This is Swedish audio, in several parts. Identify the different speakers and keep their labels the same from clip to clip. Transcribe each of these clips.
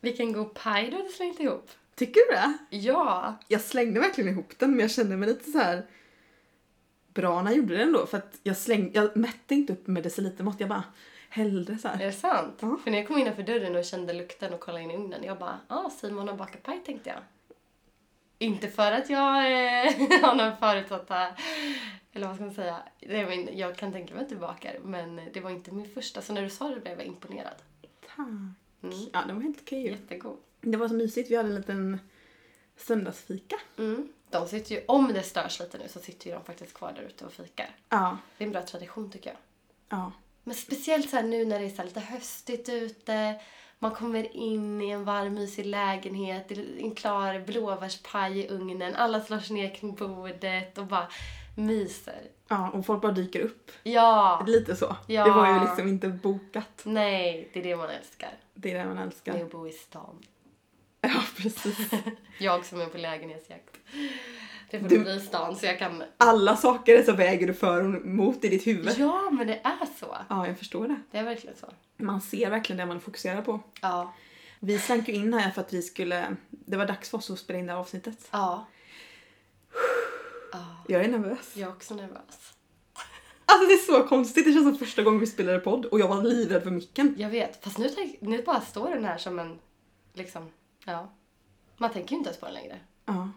Speaker 1: Vilken god paj du hade slängt ihop.
Speaker 2: Tycker du det?
Speaker 1: Ja.
Speaker 2: Jag slängde verkligen ihop den men jag kände mig lite så här bra när jag gjorde den då för att jag slängde, jag mätte inte upp med decilitermått. Jag bara hällde så
Speaker 1: Är
Speaker 2: här.
Speaker 1: det sant?
Speaker 2: Ja.
Speaker 1: För när jag kom innanför dörren och kände lukten och kollade in i ugnen, jag bara ah, Simon har bakat paj tänkte jag. Inte för att jag eh, har någon förutsatta, eller vad ska man säga, jag, men, jag kan tänka mig att du bakar men det var inte min första så när du sa det blev jag imponerad.
Speaker 2: Tack.
Speaker 1: Mm.
Speaker 2: Ja, den var helt okej. ju.
Speaker 1: Jättegod.
Speaker 2: Det var så mysigt. Vi hade en liten söndagsfika.
Speaker 1: Mm. De sitter ju, om det störs lite nu så sitter ju de faktiskt kvar där ute och fikar.
Speaker 2: Ja.
Speaker 1: Det är en bra tradition tycker jag.
Speaker 2: Ja.
Speaker 1: Men speciellt så här nu när det är så här lite höstigt ute. Man kommer in i en varm, mysig lägenhet. det är En klar blåbärspaj i ugnen. Alla slår sig ner kring bordet och bara myser.
Speaker 2: Ja, och folk bara dyker upp.
Speaker 1: Ja!
Speaker 2: Lite så.
Speaker 1: Ja.
Speaker 2: Det var ju liksom inte bokat.
Speaker 1: Nej, det är det man älskar.
Speaker 2: Det är det man
Speaker 1: Med
Speaker 2: älskar.
Speaker 1: att bo i stan.
Speaker 2: Ja, precis.
Speaker 1: Jag som är på lägenhetsjakt. Det får
Speaker 2: Du-
Speaker 1: du... bli i stan så jag kan...
Speaker 2: Alla saker så väger du för och emot i ditt huvud.
Speaker 1: Ja, men det är så.
Speaker 2: Ja, jag förstår det.
Speaker 1: Det är verkligen så.
Speaker 2: Man ser verkligen det man fokuserar på.
Speaker 1: Ja.
Speaker 2: Vi slank ju in här för att vi skulle... Det var dags för oss att spela in det här avsnittet.
Speaker 1: Ja. ja.
Speaker 2: Jag är nervös.
Speaker 1: Jag är också nervös.
Speaker 2: Alltså det är så konstigt, det känns som första gången vi spelade podd och jag var livrädd för micken.
Speaker 1: Jag vet, fast nu, tänk, nu bara står den här som en, liksom, ja. Man tänker ju inte ens på den längre.
Speaker 2: Ja.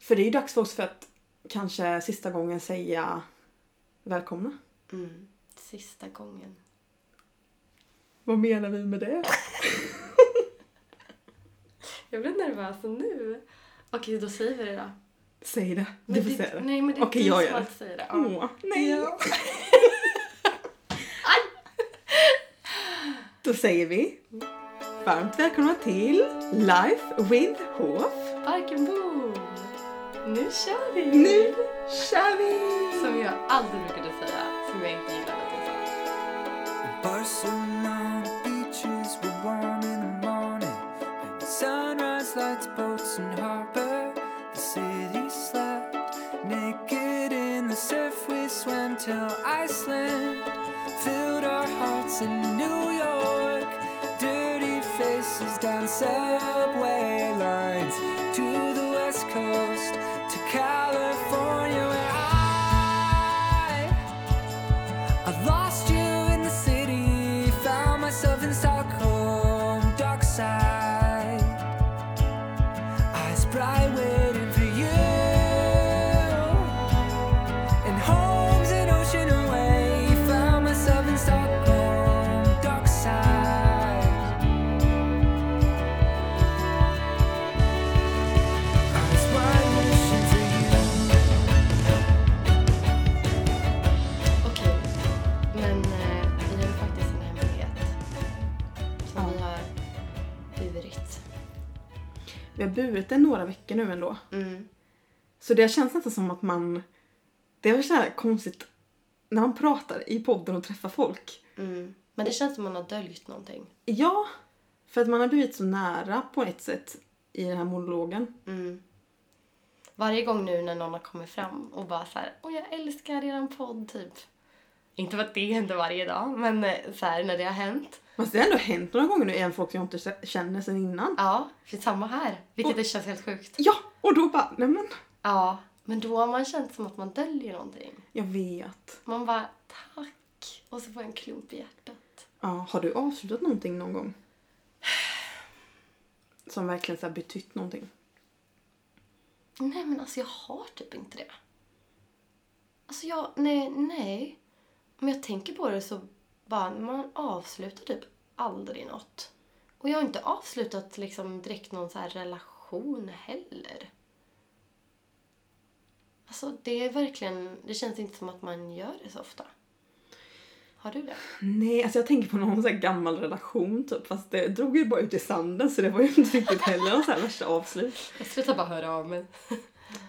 Speaker 2: För det är ju dags för oss för att kanske sista gången säga välkomna.
Speaker 1: Mm. Sista gången.
Speaker 2: Vad menar vi med det?
Speaker 1: Jag blir nervös nu. Okej, då säger vi det då.
Speaker 2: Säg det. Du
Speaker 1: Men
Speaker 2: får
Speaker 1: det-
Speaker 2: säga det.
Speaker 1: Nej, men det är
Speaker 2: Okej,
Speaker 1: du
Speaker 2: jag
Speaker 1: som
Speaker 2: gör det.
Speaker 1: alltid säger det. Ja. Mm.
Speaker 2: Åh, nej.
Speaker 1: Ja.
Speaker 2: Då säger vi varmt välkomna till Life with Hof.
Speaker 1: Barkenbom! Nu kör vi!
Speaker 2: Nu kör vi!
Speaker 1: Som jag alltid brukade säga, som jag inte gillade att jag sa.
Speaker 3: Barcelona beaches were warm in the morning, and sunrise lights boats and harbor. The city slept naked in the surf. We swam till Iceland, filled our hearts in New York. Dirty faces down subway lines to the west coast to California, where I. I lost you in the city, found myself in Stockholm, dark side. Eyes bright, waiting for you. And homes an ocean away, found myself in Stockholm, dark side. Eyes wide, wishing for you.
Speaker 1: Okej, men eh, vi har ju faktiskt en hemlighet. Som
Speaker 2: Ja.
Speaker 1: vi har burit.
Speaker 2: Vi har burit den några veckor nu ändå.
Speaker 1: Mm.
Speaker 2: Så det känns nästan som att man... Det är väl så här konstigt när man pratar i podden och träffar folk.
Speaker 1: Mm. Men det känns som man har döljt någonting.
Speaker 2: Ja, för att man har blivit så nära på ett sätt i den här monologen.
Speaker 1: Mm. Varje gång nu när någon har kommit fram och bara så här, åh jag älskar eran podd typ. Inte för att det händer varje dag, men eh, så här när det har hänt.
Speaker 2: Fast det har ändå hänt några gånger nu, även folk som jag inte se- känner sen innan.
Speaker 1: Ja, för samma här. Vilket det känns helt sjukt.
Speaker 2: Ja, och då bara, nej men,
Speaker 1: Ja, men då har man känt som att man döljer någonting.
Speaker 2: jag vet.
Speaker 1: Man bara, tack. Och så får jag en klump i hjärtat.
Speaker 2: Ja, har du avslutat någonting någon gång? Som verkligen så här betytt någonting.
Speaker 1: Nej men alltså jag har typ inte det. Alltså jag, nej, nej. Om jag tänker på det så bara, man avslutar typ aldrig något. Och jag har inte avslutat liksom direkt någon så här relation heller. Alltså det är verkligen, det känns inte som att man gör det så ofta. Har du det?
Speaker 2: Nej, alltså jag tänker på någon så här gammal relation typ. Fast det drog ju bara ut i sanden så det var ju inte riktigt heller någon så här värsta avslut.
Speaker 1: Jag slutar bara höra av mig.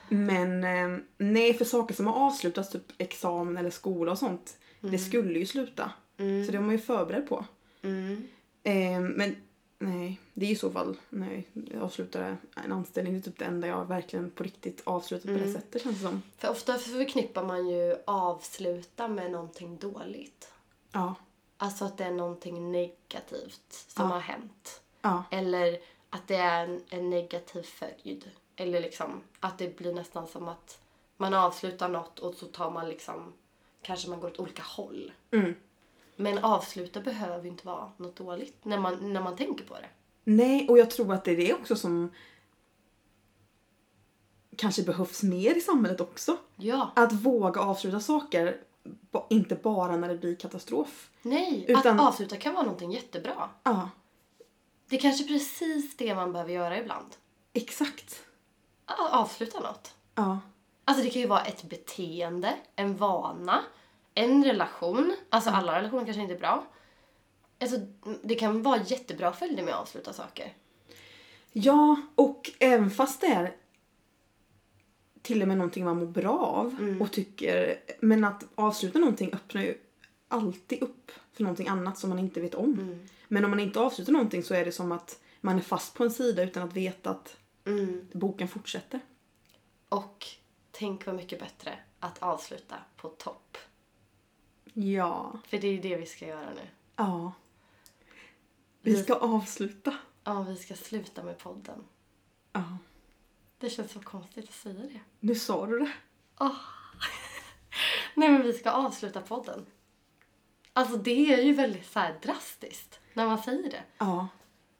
Speaker 2: Men eh, nej, för saker som har avslutats, typ examen eller skola och sånt, det skulle ju sluta. Så det var man ju förberedd på.
Speaker 1: Mm.
Speaker 2: Eh, men nej, det är i så fall nej, jag avslutade en anställning. Det är typ det enda jag verkligen på riktigt avslutat på det sättet känns det som.
Speaker 1: För ofta förknippar man ju avsluta med någonting dåligt.
Speaker 2: Ja,
Speaker 1: Alltså att det är någonting negativt som
Speaker 2: Ja.
Speaker 1: har hänt.
Speaker 2: ja,
Speaker 1: Eller att det är en, en negativ följd. Eller liksom att det blir nästan som att man avslutar något och så tar man liksom, kanske man går åt olika håll.
Speaker 2: Mm.
Speaker 1: Men avsluta behöver ju inte vara något dåligt när man, när man tänker på det.
Speaker 2: Nej, och jag tror att det är det också som kanske behövs mer i samhället också.
Speaker 1: Ja,
Speaker 2: Att våga avsluta saker, ba- inte bara när det blir katastrof.
Speaker 1: nej,
Speaker 2: Utan-
Speaker 1: att avsluta kan vara någonting jättebra.
Speaker 2: Ja,
Speaker 1: Det är kanske precis det man behöver göra ibland.
Speaker 2: exakt.
Speaker 1: A- Avsluta något.
Speaker 2: Ja,
Speaker 1: Alltså det kan ju vara ett beteende, en vana, en relation. Alltså alla relationer kanske inte är bra. Alltså det kan vara jättebra följder med att avsluta saker.
Speaker 2: ja och även fast det är till och med någonting man mår bra av och tycker, men att avsluta någonting öppnar ju alltid upp för någonting annat som man inte vet om. Men om man inte avslutar någonting så är det som att man är fast på en sida utan att veta att boken fortsätter.
Speaker 1: Mm. Och tänk vad mycket bättre att avsluta på topp.
Speaker 2: Ja.
Speaker 1: För det är ju det vi ska göra nu.
Speaker 2: Ja. Vi ska avsluta.
Speaker 1: Ja, vi ska sluta med podden.
Speaker 2: Ja.
Speaker 1: Det känns så konstigt att säga det.
Speaker 2: Nu sa du det.
Speaker 1: Nej men vi ska avsluta podden. Alltså det är ju väldigt så här drastiskt när man säger det.
Speaker 2: Ja.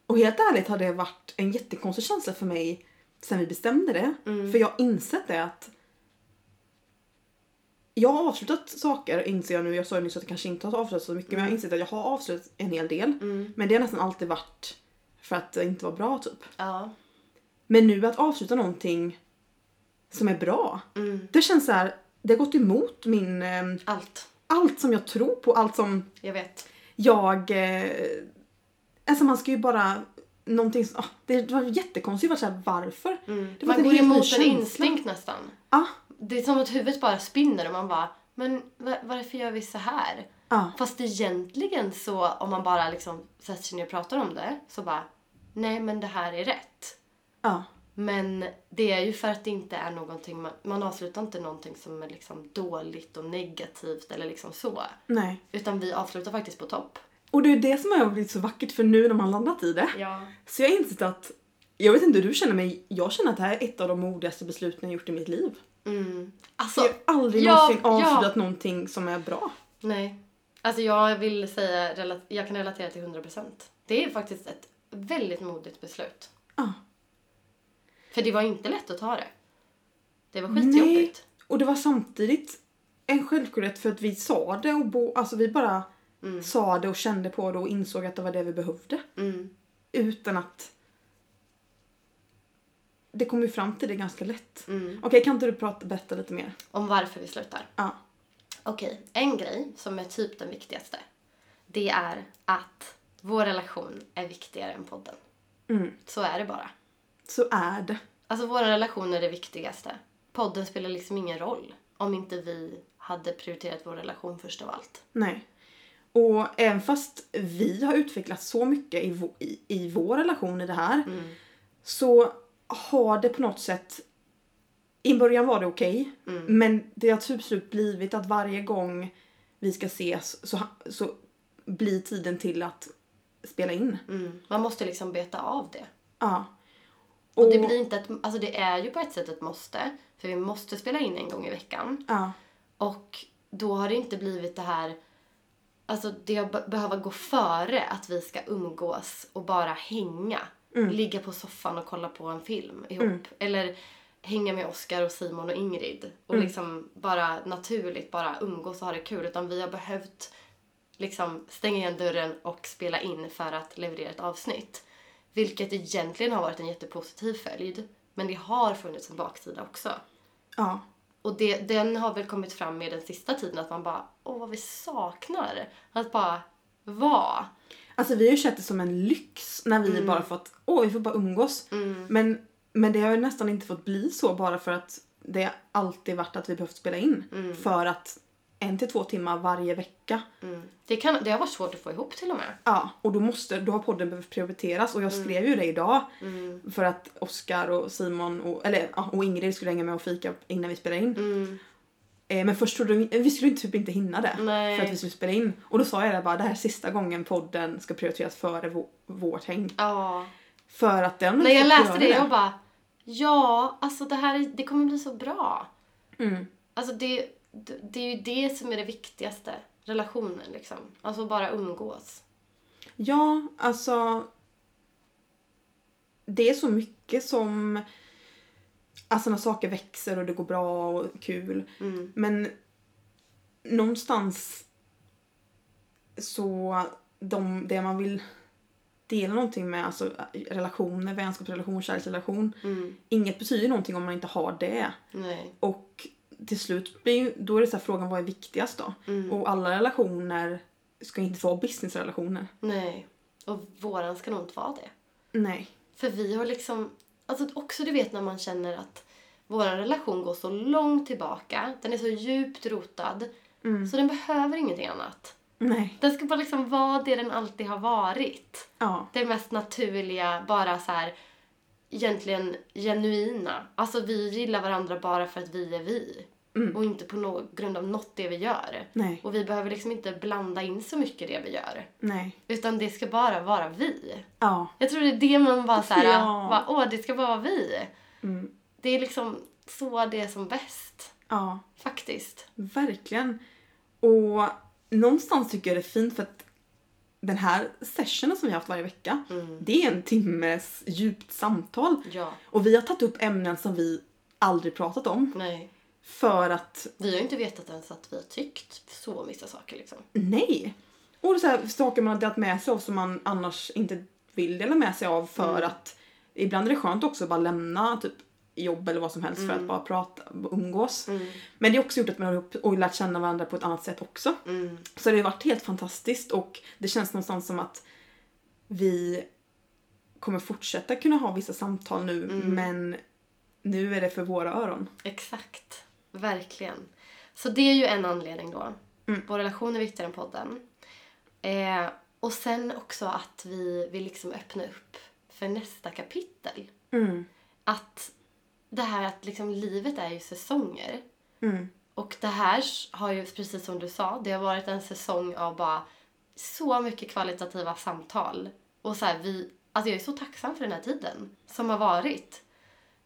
Speaker 2: Och helt ärligt har det varit en jättekonstig känsla för mig sen vi bestämde det. För jag har insett det att jag har avslutat saker inser jag nu. Jag sa ju nyss att jag kanske inte har avslutat så mycket men jag har insett att jag har avslutat en hel del. Men det har nästan alltid varit för att det inte var bra typ.
Speaker 1: Ja.
Speaker 2: Men nu att avsluta någonting som är bra. Det känns så här, det har gått emot min, eh,
Speaker 1: Allt.
Speaker 2: allt som jag tror på, allt som
Speaker 1: Jag vet.
Speaker 2: jag... Eh, alltså man ska ju bara... Någonting som, ah, det var jättekonstigt. Jag var så här, varför? Det var
Speaker 1: Mm. Man går
Speaker 2: en helt ny
Speaker 1: emot en
Speaker 2: känsla.
Speaker 1: instinkt nästan.
Speaker 2: Ja,
Speaker 1: Det är som att huvudet bara spinner och man bara men va- varför gör vi så här?
Speaker 2: ja,
Speaker 1: Fast egentligen så om man bara liksom sätter sig ner och pratar om det så bara nej men det här är rätt.
Speaker 2: ja.
Speaker 1: Men det är ju för att det inte är någonting man, man avslutar inte någonting som är liksom dåligt och negativt eller liksom så.
Speaker 2: Nej.
Speaker 1: Utan vi avslutar faktiskt på topp.
Speaker 2: Och det är det som har blivit så vackert för nu när man landat i det.
Speaker 1: Ja.
Speaker 2: Så jag har insett att... Jag vet inte hur du känner men jag känner att det här är ett av de modigaste besluten jag gjort i mitt liv.
Speaker 1: Mm. Alltså,
Speaker 2: Jag har aldrig
Speaker 1: Ja,
Speaker 2: någonsin
Speaker 1: ja.
Speaker 2: avslutat någonting som är bra.
Speaker 1: nej. Alltså jag vill säga, rela- jag kan relatera till 100%. Det är faktiskt ett väldigt modigt beslut.
Speaker 2: Ja.
Speaker 1: För det var inte lätt att ta det. Det var
Speaker 2: Nej.
Speaker 1: skitjobbigt.
Speaker 2: Och det var samtidigt en självklarhet för att vi sa det och bo, alltså vi bara sa det och kände på det och insåg att det var det vi behövde.
Speaker 1: Mm.
Speaker 2: Utan att det kom ju fram till det ganska lätt.
Speaker 1: Mm.
Speaker 2: Okej, kan inte du prata, berätta lite mer?
Speaker 1: Om varför vi slutar.
Speaker 2: Ja.
Speaker 1: Okej, en grej som är typ den viktigaste. Det är att vår relation är viktigare än podden.
Speaker 2: Mm.
Speaker 1: Så är det bara.
Speaker 2: Så är det.
Speaker 1: Alltså vår relation är det viktigaste. Podden spelar liksom ingen roll om inte vi hade prioriterat vår relation först av allt.
Speaker 2: Nej. Och även fast vi har utvecklat så mycket i, vå- i, i vår relation i det här
Speaker 1: Mm.
Speaker 2: så har det på något sätt i början var det okej,
Speaker 1: Mm.
Speaker 2: men det har till slut blivit att varje gång vi ska ses så, ha- så blir tiden till att spela in.
Speaker 1: Man måste liksom beta av det.
Speaker 2: Ja.
Speaker 1: Och det blir inte ett, alltså det är ju på ett sätt ett måste, för vi måste spela in en gång i veckan.
Speaker 2: ja.
Speaker 1: Och då har det inte blivit det här, alltså det att be- behöva gå före att vi ska umgås och bara hänga. Ligga på soffan och kolla på en film ihop. Eller hänga med Oscar och Simon och Ingrid. Och liksom bara naturligt bara umgås och ha det kul. Utan vi har behövt liksom stänga igen dörren och spela in för att leverera ett avsnitt. Vilket egentligen har varit en jättepositiv följd. Men det har funnits en baksida också.
Speaker 2: ja.
Speaker 1: Och det, den har väl kommit fram med den sista tiden att man bara, åh vad vi saknar. Att bara vara.
Speaker 2: Alltså vi har ju sett det som en lyx när vi bara fått, åh vi får bara umgås. Men, men det har ju nästan inte fått bli så bara för att det har alltid varit att vi behövt spela in. För att en till två timmar varje vecka.
Speaker 1: Mm. Det, kan, det har varit svårt att få ihop till och med.
Speaker 2: Ja, och då, måste, då har podden behövt prioriteras och jag skrev ju det idag. För att Oskar och Simon och, eller, ja, och Ingrid skulle hänga med och fika innan vi spelade in.
Speaker 1: Mm.
Speaker 2: Eh, men först trodde vi, vi skulle ju typ inte hinna det.
Speaker 1: Nej.
Speaker 2: För att vi skulle spela in. Och då sa jag det bara, det här är sista gången podden ska prioriteras före vå- vårt häng.
Speaker 1: Ja.
Speaker 2: För att den
Speaker 1: När jag
Speaker 2: människan
Speaker 1: läste
Speaker 2: gör
Speaker 1: det, jag bara ja, alltså det här är- det kommer bli så bra.
Speaker 2: Mm.
Speaker 1: Alltså det, det, det är ju det som är det viktigaste. Relationen liksom. Alltså bara umgås.
Speaker 2: Ja, alltså. Det är så mycket som... Alltså när saker växer och det går bra och kul.
Speaker 1: Mm.
Speaker 2: Men någonstans så de, det man vill dela någonting med, alltså relationer, vänskapsrelation, kärleksrelation.
Speaker 1: Mm.
Speaker 2: Inget betyder någonting om man inte har det.
Speaker 1: Nej.
Speaker 2: Och till slut blir ju, då är det så här frågan vad är viktigast då?
Speaker 1: Mm.
Speaker 2: Och alla relationer ska inte vara businessrelationer.
Speaker 1: Nej. Och våran ska nog inte vara det.
Speaker 2: Nej.
Speaker 1: För vi har liksom... Alltså också du vet när man känner att vår relation går så långt tillbaka. Den är så djupt rotad.
Speaker 2: Mm.
Speaker 1: Så den behöver ingenting annat.
Speaker 2: Nej.
Speaker 1: Den ska bara liksom vara det den alltid har varit.
Speaker 2: Ja.
Speaker 1: Det mest naturliga, bara så här egentligen genuina. Alltså vi gillar varandra bara för att vi är vi.
Speaker 2: Mm.
Speaker 1: Och inte på no- grund av något det vi gör.
Speaker 2: Nej.
Speaker 1: Och vi behöver liksom inte blanda in så mycket det vi gör.
Speaker 2: Nej.
Speaker 1: Utan det ska bara vara vi.
Speaker 2: Ja.
Speaker 1: Jag tror det är det man bara såhär,
Speaker 2: Ja.
Speaker 1: bara, åh det ska bara vara vi.
Speaker 2: Mm.
Speaker 1: Det är liksom så det är som bäst.
Speaker 2: Ja.
Speaker 1: Faktiskt.
Speaker 2: Verkligen. Och någonstans tycker jag det är fint för att den här sessionen som vi har haft varje vecka, det är en timmes djupt samtal.
Speaker 1: Ja.
Speaker 2: Och vi har tagit upp ämnen som vi aldrig pratat om.
Speaker 1: Nej.
Speaker 2: För att,
Speaker 1: Vi har ju inte vetat ens att vi har tyckt så vissa saker liksom.
Speaker 2: nej! Och så här, saker man har delat med sig av som man annars inte vill dela med sig av för att ibland är det skönt också att bara lämna typ jobb eller vad som helst för att bara prata, umgås. Men det har också gjort att man har ihop och lärt känna varandra på ett annat sätt också.
Speaker 1: Mm.
Speaker 2: Så det har varit helt fantastiskt och det känns någonstans som att vi kommer fortsätta kunna ha vissa samtal nu men nu är det för våra öron.
Speaker 1: Exakt. Verkligen. Så det är ju en anledning då.
Speaker 2: Mm.
Speaker 1: Vår relation är viktigare än podden. Eh, och sen också att vi vill liksom öppna upp för nästa kapitel.
Speaker 2: Mm.
Speaker 1: Att det här att liksom livet är ju säsonger.
Speaker 2: Mm.
Speaker 1: Och det här har ju, precis som du sa, det har varit en säsong av bara så mycket kvalitativa samtal. Och så här, vi, alltså jag är så tacksam för den här tiden som har varit.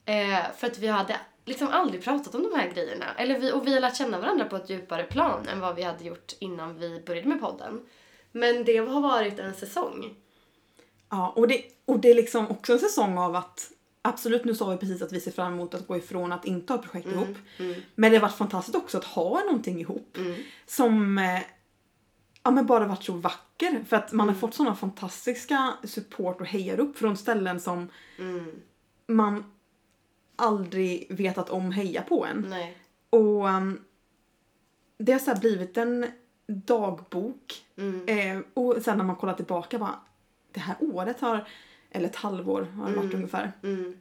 Speaker 1: Eh, för att vi hade liksom aldrig pratat om de här grejerna. Eller vi, och vi har lärt känna varandra på ett djupare plan än vad vi hade gjort innan vi började med podden. Men det har varit en säsong.
Speaker 2: Ja, och det, och det är liksom också en säsong av att absolut nu sa vi precis att vi ser fram emot att gå ifrån att inte ha projekt ihop. Men det har varit fantastiskt också att ha någonting ihop
Speaker 1: Mm,
Speaker 2: som eh, ja, men bara varit så vacker för att man har fått sådana fantastiska support och hejarop från ställen som
Speaker 1: mm,
Speaker 2: man aldrig vetat om heja på en.
Speaker 1: Nej.
Speaker 2: Och um, det har så här blivit en dagbok.
Speaker 1: Mm,
Speaker 2: Eh, och sen när man kollar tillbaka bara, det här året har, eller ett halvår har det varit ungefär.
Speaker 1: Mm.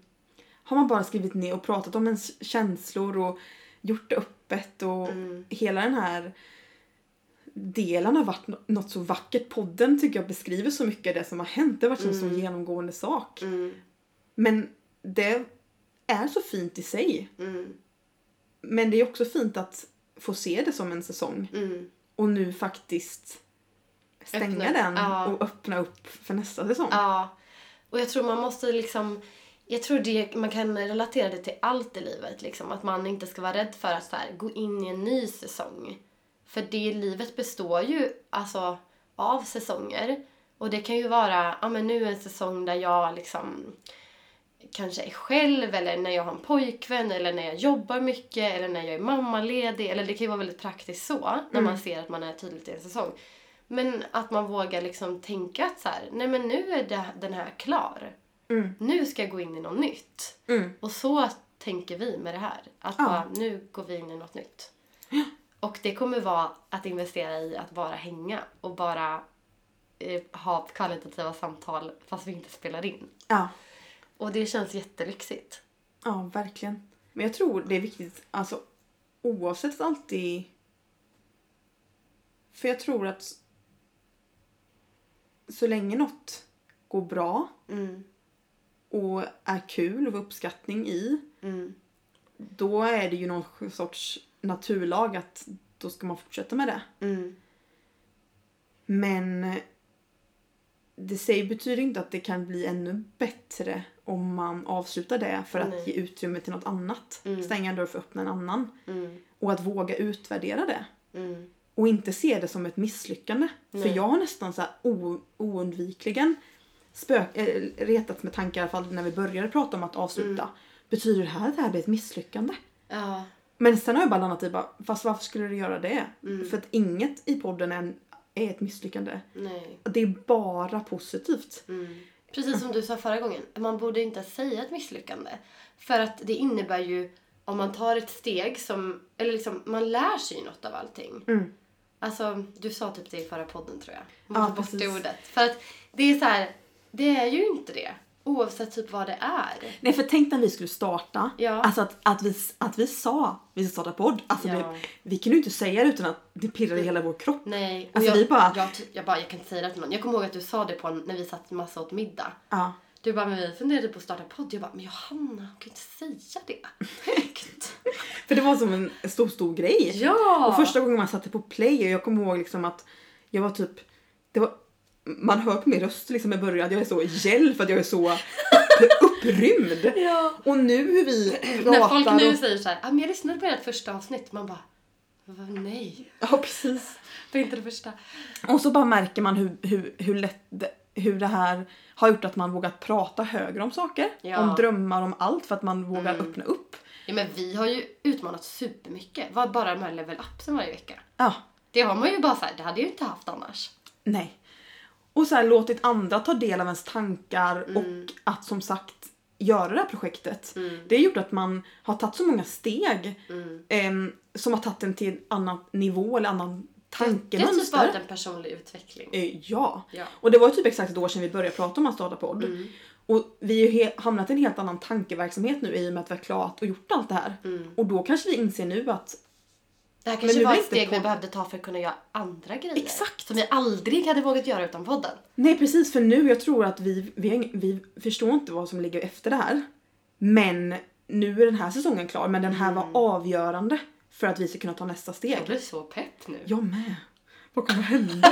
Speaker 2: Har man bara skrivit ner och pratat om ens känslor och gjort det öppet och hela den här delen har varit nå- något så vackert. Podden tycker jag beskriver så mycket det som har hänt. Det har varit en så genomgående sak.
Speaker 1: Mm.
Speaker 2: Men det är så fint i sig.
Speaker 1: Mm.
Speaker 2: Men det är också fint att få se det som en säsong
Speaker 1: Mm.
Speaker 2: och nu faktiskt stänga
Speaker 1: Öppna upp,
Speaker 2: den
Speaker 1: ja.
Speaker 2: och öppna upp för nästa säsong.
Speaker 1: Ja. Och jag tror man måste liksom... Jag tror det, man kan relatera det till allt i livet. Liksom. Att man inte ska vara rädd för att så här, gå in i en ny säsong. För det livet består ju alltså, av säsonger. Och det kan ju vara, ja men nu är en säsong där jag liksom kanske är själv eller när jag har en pojkvän eller när jag jobbar mycket eller när jag är mammaledig. Eller det kan ju vara väldigt praktiskt så
Speaker 2: Mm.
Speaker 1: när man ser att man är tydligt i en säsong. Men att man vågar liksom tänka att så här, nej men nu är det, den här klar.
Speaker 2: Mm.
Speaker 1: Nu ska jag gå in i något nytt.
Speaker 2: Mm.
Speaker 1: Och så tänker vi med det här. Att
Speaker 2: Ja.
Speaker 1: bara, nu går vi in i något nytt. Och det kommer vara att investera i att bara hänga och bara eh, ha kvalitativa samtal fast vi inte spelar in.
Speaker 2: Ja.
Speaker 1: Och det känns jättelyxigt.
Speaker 2: ja, verkligen. Men jag tror det är viktigt, alltså oavsett alltid... För jag tror att s- så länge något går bra
Speaker 1: Mm.
Speaker 2: och är kul och uppskattning i,
Speaker 1: Mm.
Speaker 2: då är det ju någon sorts naturlag att mm, då ska man fortsätta med det.
Speaker 1: Mm.
Speaker 2: Men det säger, betyder inte att det kan bli ännu bättre om man avslutar det för att
Speaker 1: Nej.
Speaker 2: ge utrymme till något annat.
Speaker 1: Mm.
Speaker 2: Stänga en dörr för att öppna en annan.
Speaker 1: Mm.
Speaker 2: Och att våga utvärdera det.
Speaker 1: Mm.
Speaker 2: Och inte se det som ett misslyckande. För
Speaker 1: Nej.
Speaker 2: jag har nästan så här o- oundvikligen spök, äh, retats med tankar, i alla fall när vi började prata om att avsluta.
Speaker 1: Mm.
Speaker 2: Betyder det här att det här blir ett misslyckande?
Speaker 1: Ja.
Speaker 2: Men sen har jag bara landat i bara, fast varför skulle du göra det?
Speaker 1: Mm.
Speaker 2: För att inget i podden är, är ett misslyckande.
Speaker 1: Nej.
Speaker 2: Det är bara positivt.
Speaker 1: Mm. Precis som du sa förra gången, man borde inte säga ett misslyckande. För att det innebär ju, om man tar ett steg som, eller liksom, man lär sig ju något av allting.
Speaker 2: Mm.
Speaker 1: Alltså, du sa typ det i förra podden tror jag.
Speaker 2: Ja,
Speaker 1: Man tar bort det
Speaker 2: precis.
Speaker 1: ordet. För att det är så här, det är ju inte det. Oavsett typ vad det är.
Speaker 2: Nej för tänk när vi skulle starta.
Speaker 1: Ja.
Speaker 2: Alltså att, att, vi, att vi sa vi ska starta podd. Alltså
Speaker 1: Ja.
Speaker 2: vi, vi kunde ju inte säga det utan att det pirrade i hela vår kropp.
Speaker 1: Nej.
Speaker 2: Alltså, vi bara-
Speaker 1: Jag, ty- jag bara, jag kan inte säga det till någon. Jag kommer ihåg att du sa det på en, när vi satt massa åt middag.
Speaker 2: Ja.
Speaker 1: Du bara, men vi funderade på att starta podd. Jag bara, men Johanna, hon kan ju inte säga det högt.
Speaker 2: För det var som en stor stor grej.
Speaker 1: ja!
Speaker 2: Och första gången man satte på play och jag kommer ihåg liksom att jag var typ, det var, man hör på min röst liksom i början att jag är så gäll för att jag är så upp, upprymd.
Speaker 1: Ja.
Speaker 2: Och nu hur vi pratar
Speaker 1: När folk nu
Speaker 2: och,
Speaker 1: säger så här, ah, men jag lyssnade på ert första avsnitt. Man bara, "Va, nej.
Speaker 2: Ja precis.
Speaker 1: Det är inte det första.
Speaker 2: Och så bara märker man hur, hur, hur lätt det- hur det här har gjort att man vågat prata högre om saker.
Speaker 1: Ja. Mm.
Speaker 2: Om drömmar, om allt för att man vågar öppna upp.
Speaker 1: Ja, men vi har ju utmanat supermycket. Var bara de här level upsen varje vecka.
Speaker 2: Ja,
Speaker 1: Det har man ju bara så här, det hade jag ju inte haft annars.
Speaker 2: nej. Och så här låtit andra ta del av ens tankar
Speaker 1: Mm.
Speaker 2: och att som sagt göra det här projektet.
Speaker 1: Mm.
Speaker 2: Det har gjort att man har tagit så många steg em, som har tagit en till en annan nivå eller annan
Speaker 1: Det har typ
Speaker 2: tankemönster.
Speaker 1: varit en personlig utveckling.
Speaker 2: Eh, Ja. Mm.
Speaker 1: Ja.
Speaker 2: Och det var ju typ exakt ett år sedan vi började prata om att starta podd. Och vi har ju he- hamnat i en helt annan tankeverksamhet nu i och med att vi har klarat och gjort allt det här. Och då kanske vi inser nu att
Speaker 1: Det här
Speaker 2: Men
Speaker 1: kanske
Speaker 2: nu
Speaker 1: var
Speaker 2: är
Speaker 1: ett
Speaker 2: inte
Speaker 1: steg vi
Speaker 2: podd-
Speaker 1: behövde ta för att kunna göra andra grejer.
Speaker 2: Exakt.
Speaker 1: Som vi aldrig hade vågat göra utan podden.
Speaker 2: nej precis för nu jag tror att vi, vi, har ing- vi förstår inte vad som ligger efter det här. Men nu är den här säsongen klar men den här var avgörande för att vi ska kunna ta nästa steg.
Speaker 1: Jag blir så pepp nu.
Speaker 2: Jag med. Vad kommer hända?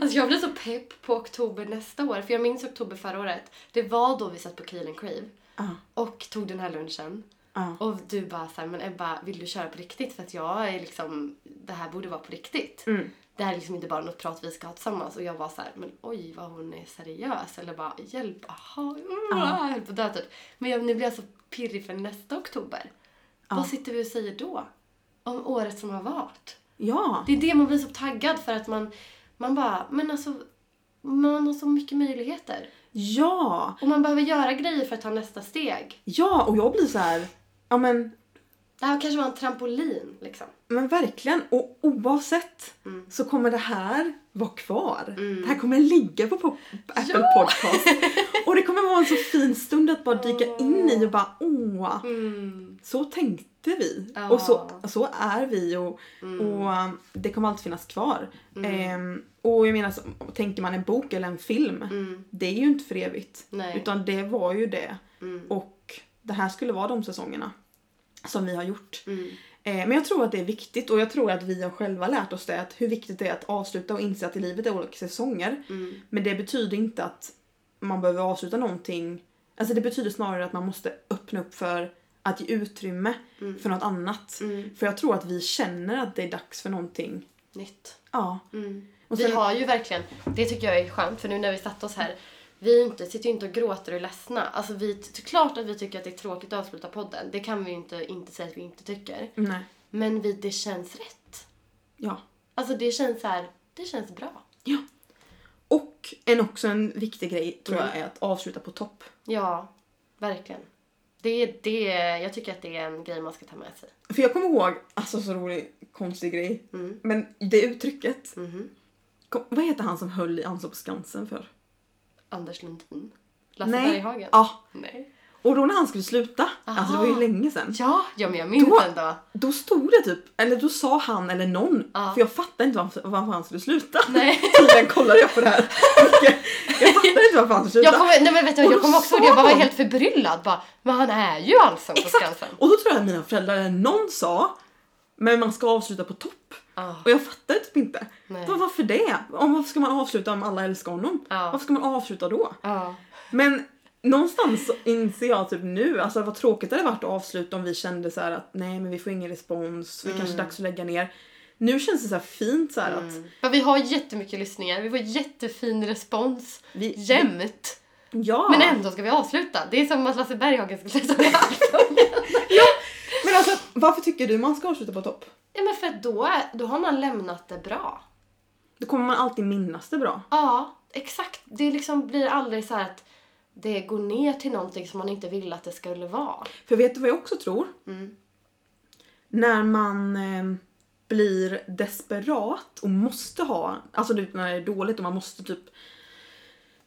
Speaker 1: Alltså jag blir så pepp på oktober nästa år. För jag minns oktober förra året. Det var då vi satt på Kiel and Crave.
Speaker 2: Ja,
Speaker 1: Och tog den här lunchen.
Speaker 2: ja.
Speaker 1: Och du bara såhär, men Ebba vill du köra på riktigt? För att jag är liksom, det här borde vara på riktigt.
Speaker 2: Mm.
Speaker 1: Det här är liksom inte bara något prat vi ska ha tillsammans. Och jag var så här, men oj vad hon är seriös. Eller bara, hjälp, aha, uh, jag höll på att dö typ. Men jag, nu blir jag så pirrig för nästa oktober. Vad sitter vi och säger då? Om året som har varit.
Speaker 2: ja.
Speaker 1: Det är det man blir så taggad för att man, man bara, men alltså, man har så mycket möjligheter.
Speaker 2: Ja.
Speaker 1: Och man behöver göra grejer för att ta nästa steg.
Speaker 2: Ja och jag blir så här. Ja men
Speaker 1: Det här kanske var en trampolin liksom. Mm.
Speaker 2: Men verkligen. Och oavsett så kommer det här vara kvar. Det här kommer ligga på pop- Apple Podcast. Och det kommer vara en så fin stund att bara dyka in i och bara åh, så tänkte vi.
Speaker 1: Ja. Mm.
Speaker 2: Och så, så är vi och, och um, det kommer alltid finnas kvar. Ehm, och jag menar, så, tänker man en bok eller en film, det är ju inte för evigt.
Speaker 1: Mm. Nej.
Speaker 2: Utan det var ju det.
Speaker 1: mm,
Speaker 2: Och det här skulle vara de säsongerna som vi har gjort.
Speaker 1: mm,
Speaker 2: Eh, Men jag tror att det är viktigt och jag tror att vi har själva lärt oss det. Att hur viktigt det är att avsluta och inse att i livet är olika säsonger.
Speaker 1: Mm.
Speaker 2: Men det betyder inte att man behöver avsluta någonting. Alltså det betyder snarare att man måste öppna upp för att ge utrymme
Speaker 1: Mm.
Speaker 2: för något annat. För jag tror att vi känner att det är dags för någonting.
Speaker 1: Nytt. Mm.
Speaker 2: Ja. Och
Speaker 1: Vi
Speaker 2: sen,
Speaker 1: har ju verkligen, det tycker jag är skönt för nu när vi satt oss här, vi är inte, sitter ju inte och gråter och är ledsna. Alltså vi, det är klart att vi tycker att det är tråkigt att avsluta podden. Det kan vi ju inte, inte säga att vi inte tycker.
Speaker 2: Nej.
Speaker 1: Men vi, det känns rätt.
Speaker 2: Ja.
Speaker 1: Alltså det känns så här, det känns bra.
Speaker 2: Ja. Och en, också en viktig grej tror
Speaker 1: Mm.
Speaker 2: jag är att avsluta på topp.
Speaker 1: Ja, verkligen. Det är det, jag tycker att det är en grej man ska ta med sig.
Speaker 2: För jag kommer ihåg, alltså så rolig, konstig grej.
Speaker 1: Mm.
Speaker 2: Men det uttrycket.
Speaker 1: Mhm.
Speaker 2: Kom, vad heter han som höll i Anson på Skansen för?
Speaker 1: Anders Lundin? Lasse
Speaker 2: Nej.
Speaker 1: Berghagen?
Speaker 2: Ja.
Speaker 1: Nej.
Speaker 2: Och då när han skulle sluta, alltså det var
Speaker 1: Aha.
Speaker 2: ju länge sedan.
Speaker 1: Ja, ja men jag minns
Speaker 2: Då-
Speaker 1: ändå.
Speaker 2: Då stod det typ, eller då sa han eller någon,
Speaker 1: Ja.
Speaker 2: för jag fattade inte varför, varför han skulle sluta.
Speaker 1: Nej.
Speaker 2: Tydligen kollade jag på det här mycket. Jag fattade inte varför han skulle
Speaker 1: Jag
Speaker 2: sluta.
Speaker 1: kommer, nej men vet du,
Speaker 2: Och
Speaker 1: jag
Speaker 2: då
Speaker 1: kommer också
Speaker 2: sa
Speaker 1: ihåg det. Jag bara var
Speaker 2: de-
Speaker 1: helt förbryllad. Bara, men han är ju Allsång på
Speaker 2: Exakt!
Speaker 1: Skansen.
Speaker 2: Och då tror jag att mina föräldrar, eller någon sa Men man ska avsluta på topp.
Speaker 1: Ja.
Speaker 2: Och jag fattar typ inte.
Speaker 1: Nej.
Speaker 2: Var, varför det? Om, varför ska man avsluta om alla älskar honom?
Speaker 1: Ja.
Speaker 2: Varför ska man avsluta då?
Speaker 1: Ja.
Speaker 2: Men någonstans så inser jag typ nu, alltså vad tråkigt det hade varit att avsluta om vi kände så här att nej men vi får ingen respons, vi kanske är dags att lägga ner. Nu känns det så här fint så här att
Speaker 1: Men vi har jättemycket lyssningar. Vi får jättefin respons.
Speaker 2: vi...
Speaker 1: Jämt.
Speaker 2: Ja!
Speaker 1: Men ändå ska vi avsluta. Det är som att Lasse Berghagen skulle sluta med allsången.
Speaker 2: Men alltså varför tycker du man ska avsluta på topp?
Speaker 1: Ja, men för att då, är- då har man lämnat det bra.
Speaker 2: Då kommer man alltid minnas det bra.
Speaker 1: Ja, exakt. Det liksom blir aldrig så här att det går ner till någonting som man inte ville att det skulle vara.
Speaker 2: För vet du vad jag också tror? När man eh, blir desperat och måste ha, alltså du vet, när det är dåligt och man måste typ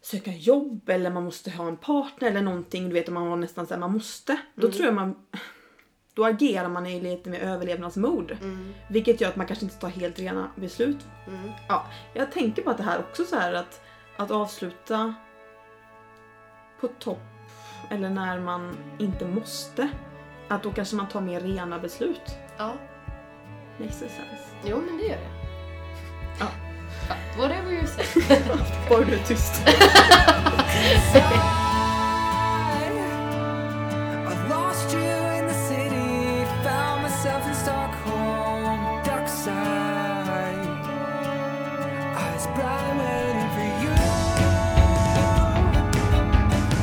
Speaker 2: söka jobb eller man måste ha en partner eller någonting, du vet om man var nästan såhär man måste. Då tror jag man, då agerar man i lite mer överlevnadsmod. Vilket gör att man kanske inte tar helt rena beslut. Ja, jag tänker på att det här också så här att, att avsluta på topp eller när man inte måste. Att då kanske man tar mer rena beslut.
Speaker 1: Ja.
Speaker 2: Makes sense.
Speaker 1: Jo, men det gör det.
Speaker 2: Ja.
Speaker 1: But Whatever you say.
Speaker 2: Bara du är tyst.
Speaker 3: I lost you in the city, found myself in Stockholm, dark side. Eyes bright, waiting for you.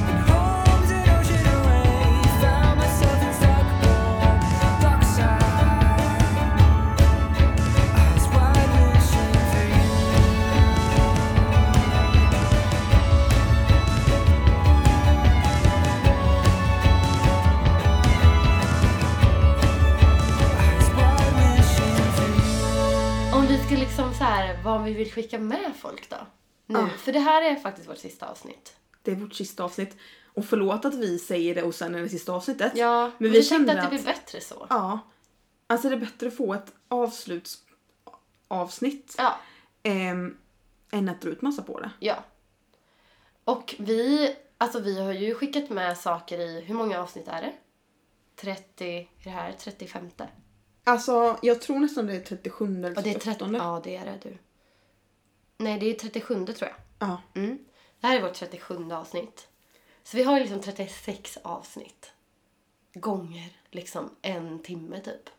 Speaker 3: And home's an ocean away, found myself in Stockholm, dark side. Eyes wide, wishing for you. Eyes wide, wishing for you.
Speaker 1: Om vi ska liksom så här, vad vi vill skicka med folk då? Nu.
Speaker 2: Ah.
Speaker 1: För det här är faktiskt vårt sista avsnitt.
Speaker 2: Det är vårt sista avsnitt. Och förlåt att vi säger det och sen är det sista avsnittet.
Speaker 1: Ja, men vi, kände att det blir bättre så.
Speaker 2: Ja. Alltså det är bättre att få ett avslutsavsnitt
Speaker 1: Ja.
Speaker 2: ehm, än att dra ut massa på det.
Speaker 1: Ja. Och vi, alltså vi har ju skickat med saker i, hur många avsnitt är det? 30, är det här 35?
Speaker 2: Alltså jag tror nästan det är 37 eller
Speaker 1: Och det är
Speaker 2: 38.
Speaker 1: 13. Ja, det är det du. Nej, det är 37 tror
Speaker 2: Ja.
Speaker 1: jag. Mm. Det här är vårt 37 avsnitt. Så vi har ju liksom 36 avsnitt. Gånger liksom en timme typ.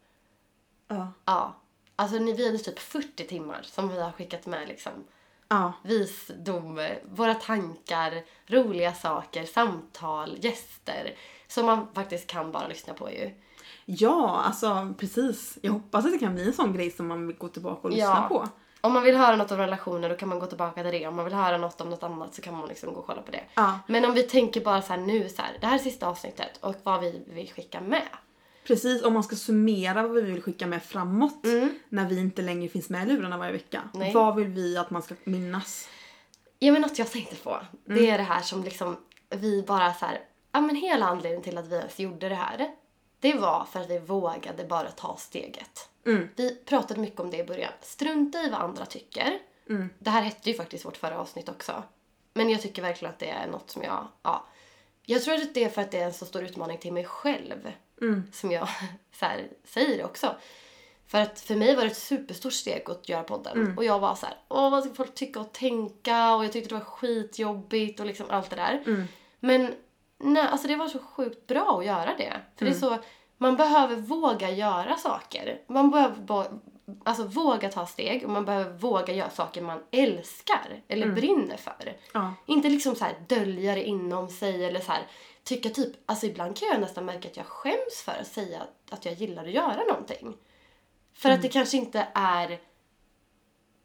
Speaker 2: Ja.
Speaker 1: Ja. Alltså ni, vi hade typ 40 timmar som vi har skickat med liksom
Speaker 2: ja.
Speaker 1: visdom, våra tankar, roliga saker, samtal, gäster. Som man faktiskt kan bara lyssna på ju.
Speaker 2: Ja, alltså precis. Jag hoppas att det kan bli en sån grej som man vill gå tillbaka och lyssna
Speaker 1: Ja.
Speaker 2: på.
Speaker 1: Om man vill höra något om relationer då kan man gå tillbaka till det. Om man vill höra något om något annat så kan man liksom gå och kolla på det.
Speaker 2: Ja.
Speaker 1: Men om vi tänker bara så här nu så här, det här är sista avsnittet och vad vi vill skicka med.
Speaker 2: Precis, om man ska summera vad vi vill skicka med framåt när vi inte längre finns med i lurarna varje vecka.
Speaker 1: Mm. Nej.
Speaker 2: Vad vill vi att man ska minnas?
Speaker 1: Ja men något jag tänkte på, det är det här som liksom vi bara så här, ja men hela anledningen till att vi ens gjorde det här, det var för att vi vågade bara ta steget.
Speaker 2: Mm,
Speaker 1: Vi pratade mycket om det i början, strunta i vad andra tycker.
Speaker 2: mm,
Speaker 1: Det här hette ju faktiskt vårt förra avsnitt också. Men jag tycker verkligen att det är något som jag, ja. Jag tror att det är för att det är en så stor utmaning till mig själv.
Speaker 2: mm,
Speaker 1: Som jag så här, säger det också. För att för mig var det ett superstort steg att göra podden. Och jag var så här, åh vad ska folk tycka och tänka? Och jag tyckte det var skitjobbigt och liksom allt det där.
Speaker 2: Mm.
Speaker 1: Men nej, alltså det var så sjukt bra att göra det. För det är så, man behöver våga göra saker. Man behöver bo- alltså, våga ta steg och man behöver våga göra saker man älskar eller brinner för.
Speaker 2: Ja.
Speaker 1: Inte liksom så här dölja det inom sig eller så här tycka typ, alltså ibland kan jag nästan märka att jag skäms för att säga att- att jag gillar att göra någonting. För att det kanske inte är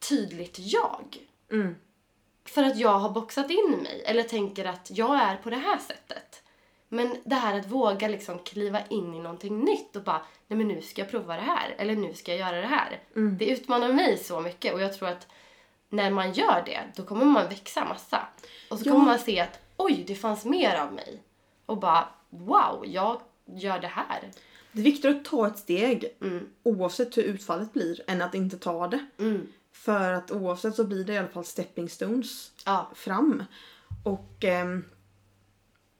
Speaker 1: tydligt jag.
Speaker 2: Mm.
Speaker 1: För att jag har boxat in mig eller tänker att jag är på det här sättet. Men det här att våga liksom kliva in i någonting nytt och bara nej men nu ska jag prova det här eller nu ska jag göra det här. Det utmanar mig så mycket och jag tror att när man gör det då kommer man växa massa. Och så
Speaker 2: Ja.
Speaker 1: kommer man se att oj det fanns mer av mig. Och bara wow jag gör det här.
Speaker 2: Det är viktigare att ta ett steg
Speaker 1: Mm.
Speaker 2: oavsett hur utfallet blir än att inte ta det.
Speaker 1: Mm.
Speaker 2: För att oavsett så blir det i alla fall stepping stones
Speaker 1: Ja.
Speaker 2: fram. Och ehm,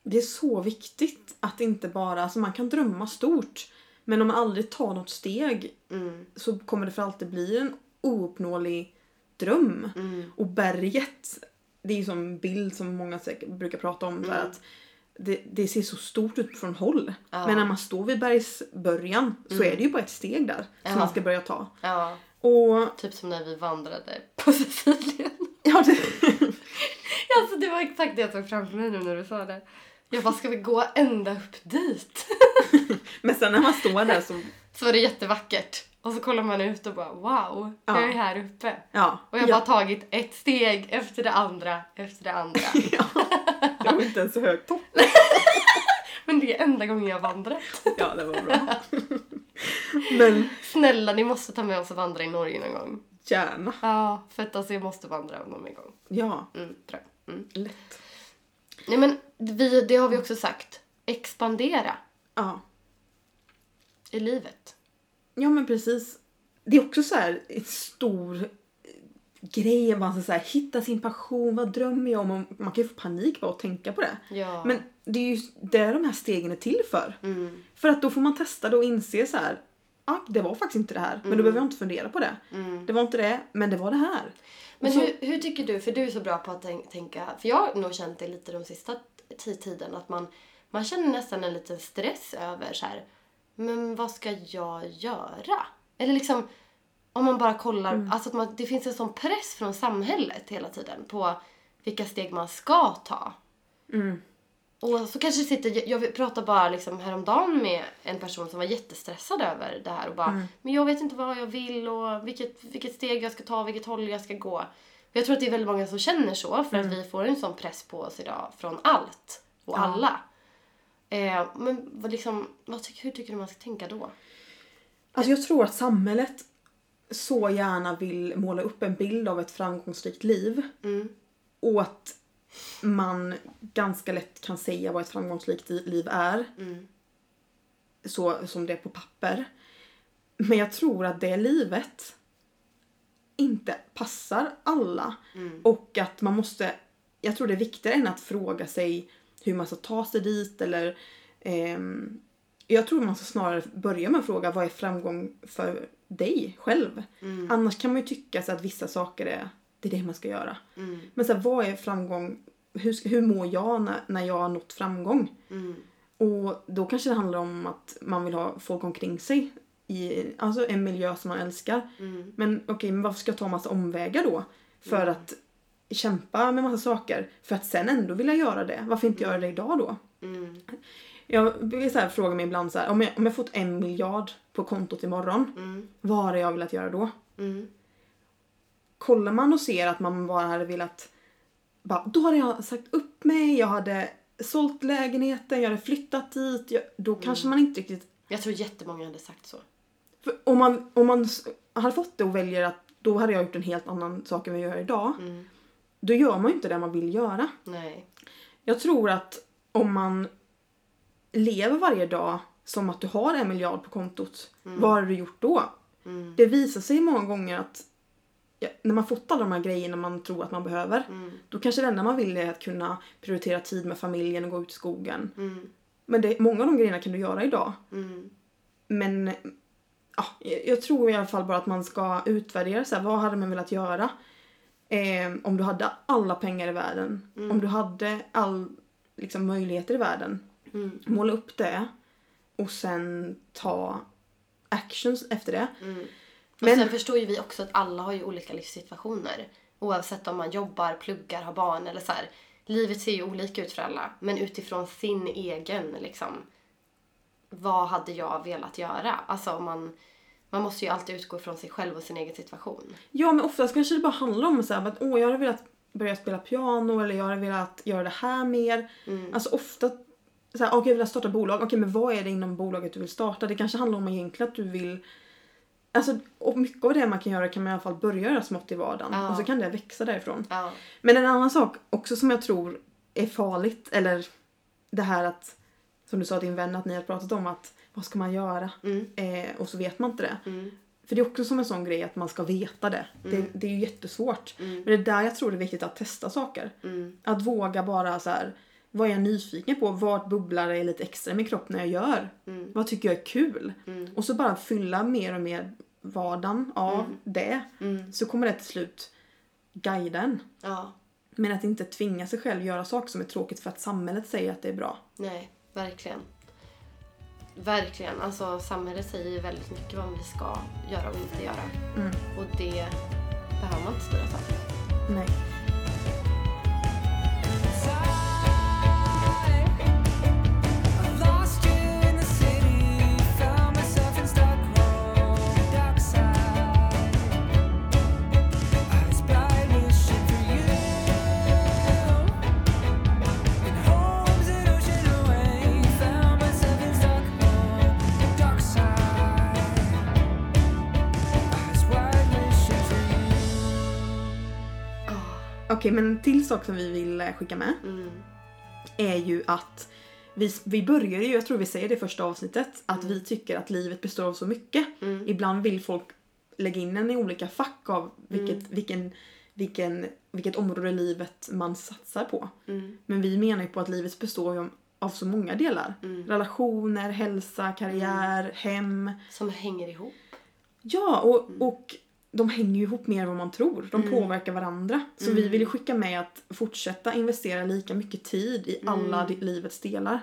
Speaker 2: det är så viktigt att inte bara, alltså man kan drömma stort Men om man aldrig tar något steg
Speaker 1: Mm.
Speaker 2: så kommer det för alltid bli en ouppnåelig dröm.
Speaker 1: Mm.
Speaker 2: Och berget, det är ju som en bild som många säkert brukar prata om. så här att det, det ser så stort ut från håll.
Speaker 1: Mm. Ja. Mm.
Speaker 2: Men när man står vid bergsbörjan så är det ju bara ett steg där
Speaker 1: Ja.
Speaker 2: som man ska börja ta.
Speaker 1: Ja,
Speaker 2: Och
Speaker 1: typ som när vi vandrade på Sicilien.
Speaker 2: ja, det,
Speaker 1: Alltså det var exakt det jag såg framför mig nu när du sa det. Jag bara, ska vi gå ända upp dit?
Speaker 2: men sen när man står där så...
Speaker 1: Så var det jättevackert. Och så kollar man ut och bara, wow, jag är
Speaker 2: Ja.
Speaker 1: här uppe.
Speaker 2: Ja.
Speaker 1: Och jag har
Speaker 2: ja.
Speaker 1: bara tagit ett steg efter det andra, efter det andra.
Speaker 2: Det var inte ens så hög topp.
Speaker 1: Men det är enda gången jag vandrat.
Speaker 2: Ja, det var bra. Men
Speaker 1: Snälla, ni måste ta med oss och vandra i Norge någon gång.
Speaker 2: gärna.
Speaker 1: Ja, för att alltså jag måste vandra någon mer gång.
Speaker 2: Ja,
Speaker 1: Mm, tror jag. Mm.
Speaker 2: lätt.
Speaker 1: Nej men, vi, det har vi också sagt. Expandera
Speaker 2: Ja.
Speaker 1: i livet.
Speaker 2: ja, men precis. Det är också så här en stor grej. Man ska så här, hitta sin passion, vad drömmer jag om? Och Man kan ju få panik bara att tänka på det.
Speaker 1: Ja.
Speaker 2: Men det är ju det de här stegen är till för.
Speaker 1: Mm.
Speaker 2: För att då får man testa det och inse så här. Ah, det var faktiskt inte det här,
Speaker 1: Mm.
Speaker 2: men då behöver jag inte fundera på det. Det var inte det, men det var det här.
Speaker 1: Men
Speaker 2: Och så-
Speaker 1: hur, hur tycker du, för du är så bra på att tän- tänka, för jag har nog känt det lite de sista t- tiden att man, man känner nästan en liten stress över så här, men vad ska jag göra? Eller liksom, om man bara kollar,
Speaker 2: Mm.
Speaker 1: alltså att man, det finns en sån press från samhället hela tiden på vilka steg man ska ta. Och så kanske det sitter, jag pratade bara liksom häromdagen med en person som var jättestressad över det här och bara Men jag vet inte vad jag vill och vilket, vilket steg jag ska ta, vilket håll jag ska gå. Och jag tror att det är väldigt många som känner så för att vi får en sån press på oss idag från allt och alla. Eh, men vad liksom, vad tycker, hur tycker du man ska tänka då?
Speaker 2: Alltså jag tror att samhället så gärna vill måla upp en bild av ett framgångsrikt liv. Och att man ganska lätt kan säga vad ett framgångsrikt i- liv är. Så som det är på papper. Men jag tror att det livet inte passar alla. Och att man måste, jag tror det är viktigare än att fråga sig hur man ska ta sig dit eller ehm, jag tror man ska snarare börja med att fråga vad är framgång för dig själv?
Speaker 1: Mm.
Speaker 2: Annars kan man ju tycka så att vissa saker är det, är det man ska göra.
Speaker 1: mm,
Speaker 2: Men så här, vad är framgång? Hur, ska- hur mår jag när, när jag har nått framgång?
Speaker 1: mm,
Speaker 2: Och då kanske det handlar om att man vill ha folk omkring sig. I, alltså en miljö som man älskar.
Speaker 1: mm,
Speaker 2: Men okej, men varför ska jag ta massa omvägar då? För att kämpa med massa saker. För att sen ändå vilja göra det. Varför inte göra det idag då?
Speaker 1: mm,
Speaker 2: Jag vill så här fråga mig ibland så här, om jag, om jag fått en miljard på kontot imorgon,
Speaker 1: mm,
Speaker 2: vad hade jag velat göra då? Kollar man och ser att man bara hade velat, bara, då hade jag sagt upp mig, jag hade sålt lägenheten, jag hade flyttat dit. Jag, då kanske man inte riktigt,
Speaker 1: Jag tror jättemånga hade sagt så.
Speaker 2: för om man, om man s- hade fått det och väljer att då hade jag gjort en helt annan sak än vad jag gör idag. Då gör man ju inte det man vill göra.
Speaker 1: Mm. Nej.
Speaker 2: Jag tror att om man lever varje dag som att du har en miljard på kontot,
Speaker 1: Mm.
Speaker 2: vad har du gjort då? Det visar sig många gånger att ja, när man fått alla de här grejerna man tror att man behöver,
Speaker 1: mm,
Speaker 2: då kanske det enda man vill är att kunna prioritera tid med familjen och gå ut i skogen.
Speaker 1: mm,
Speaker 2: Men det, många av de grejerna kan du göra idag. Men ja, jag- jag tror i alla fall bara att man ska utvärdera så här, vad hade man velat göra? Eh, om du hade alla pengar i världen. Om du hade all liksom, möjligheter i världen. Måla upp det. Och sen ta actions efter det.
Speaker 1: Mm. Och
Speaker 2: Men-
Speaker 1: sen förstår ju vi också att alla har ju olika livssituationer. Oavsett om man jobbar, pluggar, har barn eller så här. Livet ser ju olika ut för alla. Men utifrån sin egen liksom. Vad hade jag velat göra? Alltså om man, man måste ju alltid utgå från sig själv och sin egen situation.
Speaker 2: Ja men oftast kanske det bara handlar om så här, att åh jag hade velat börja spela piano eller jag hade velat göra det här mer. Alltså ofta så här, okej jag vill starta bolag, okej men vad är det inom bolaget du vill starta? Det kanske handlar om egentligen att du vill Alltså och mycket av det man kan göra kan man i alla fall börja göra smått i vardagen
Speaker 1: Ja.
Speaker 2: och så kan det växa därifrån.
Speaker 1: Ja.
Speaker 2: Men en annan sak också som jag tror är farligt eller det här att som du sa din vän att ni har pratat om att vad ska man göra? Eh, och så vet man inte det. För det är också som en sån grej att man ska veta det. Det, det är ju
Speaker 1: Mm.
Speaker 2: jättesvårt. Men det är där jag tror det är viktigt att testa saker. Att våga bara så här. Vad är jag nyfiken på? Vad bubblar det lite extra i min kropp när jag gör? Vad tycker jag är kul? Och så bara fylla mer och mer vardagen av det. Så kommer det till slut guida en.
Speaker 1: Ja,
Speaker 2: Men att inte tvinga sig själv göra saker som är tråkigt för att samhället säger att det är bra.
Speaker 1: nej, verkligen. Verkligen. Alltså samhället säger ju väldigt mycket vad vi ska göra och inte göra.
Speaker 2: Mm.
Speaker 1: Och det behöver man inte styras av.
Speaker 2: Nej. Okej, men en till sak som vi vill eh, skicka med
Speaker 1: Mm.
Speaker 2: är ju att vi, vi börjar ju, jag tror vi säger det i första avsnittet, att vi tycker att livet består av så mycket.
Speaker 1: Mm.
Speaker 2: Ibland vill folk lägga in en i olika fack av vilket, vilken, vilken, vilket område i livet man satsar på.
Speaker 1: Mm.
Speaker 2: Men vi menar ju på att livet består ju av- av så många delar. Relationer, hälsa, karriär, hem.
Speaker 1: Som hänger ihop.
Speaker 2: Ja, och, och de hänger ju ihop mer än vad man tror. De påverkar varandra. Så vi vill ju skicka med att fortsätta investera lika mycket tid i alla di- livets delar.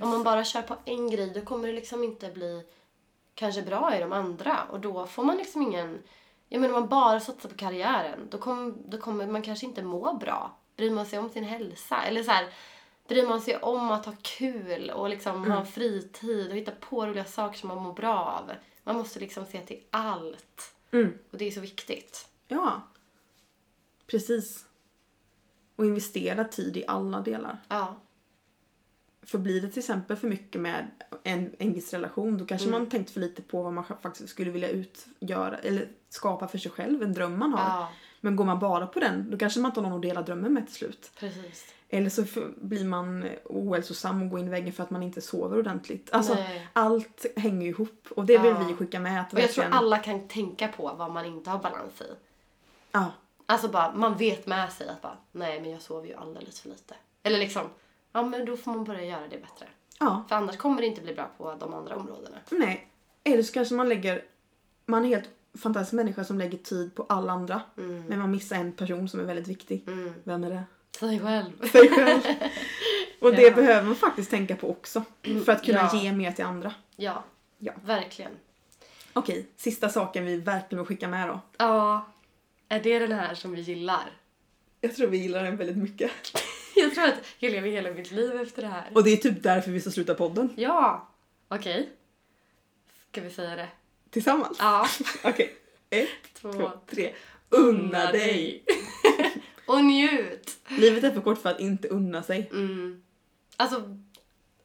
Speaker 1: Om man bara kör på en grej då kommer det liksom inte bli kanske bra i de andra och då får man liksom ingen... Jag menar om man bara satsar på karriären då, kom, då kommer man kanske inte må bra. Bryr man sig om sin hälsa? Eller så här, bryr man sig om att ha kul och liksom
Speaker 2: Mm.
Speaker 1: ha fritid och hitta på roliga saker som man mår bra av? Man måste liksom se till allt.
Speaker 2: Mm.
Speaker 1: Och det är så viktigt.
Speaker 2: Ja. Precis. Och investera tid i alla delar.
Speaker 1: Ja.
Speaker 2: För blir det till exempel för mycket med en, en viss relation då kanske man tänkt för lite på vad man sj- faktiskt skulle vilja utgöra eller skapa för sig själv, en dröm man har.
Speaker 1: Ja,
Speaker 2: Men går man bara på den då kanske man inte har någon att dela drömmen med till slut.
Speaker 1: precis.
Speaker 2: Eller så f- blir man ohälsosam och går in i väggen för att man inte sover ordentligt. Alltså,
Speaker 1: Nej.
Speaker 2: allt hänger ju ihop och det vill
Speaker 1: Ja.
Speaker 2: vi skicka med. Att
Speaker 1: Och jag tror
Speaker 2: verkligen-
Speaker 1: alla kan tänka på vad man inte har balans i.
Speaker 2: Ja,
Speaker 1: Alltså bara, man vet med sig att bara, nej men jag sover ju alldeles för lite. Eller liksom, ja men då får man börja göra det bättre.
Speaker 2: ja,
Speaker 1: För annars kommer det inte bli bra på de andra områdena.
Speaker 2: nej. Eller så kanske man lägger... Man är en helt fantastisk människa som lägger tid på alla andra. Men man missar en person som är väldigt viktig.
Speaker 1: Mm.
Speaker 2: Vem är det?
Speaker 1: Säg själv.
Speaker 2: Sig själv. och det
Speaker 1: Ja.
Speaker 2: behöver man faktiskt tänka på också. För att kunna
Speaker 1: Ja.
Speaker 2: ge mer till andra.
Speaker 1: Ja,
Speaker 2: Ja.
Speaker 1: verkligen.
Speaker 2: Okej, sista saken vi verkligen vill skicka med då.
Speaker 1: Ja, är det den här som vi gillar?
Speaker 2: Jag tror vi gillar den väldigt mycket.
Speaker 1: Jag tror att jag lever hela mitt liv efter det här.
Speaker 2: Och det är typ därför vi ska sluta podden.
Speaker 1: Ja, okej. Ska vi säga det?
Speaker 2: Tillsammans.
Speaker 1: Ja,
Speaker 2: Okej. Ett,
Speaker 1: två.
Speaker 2: två, tre. Unna dig!
Speaker 1: Och njut!
Speaker 2: Livet är för kort för att inte unna sig.
Speaker 1: Mm. Alltså,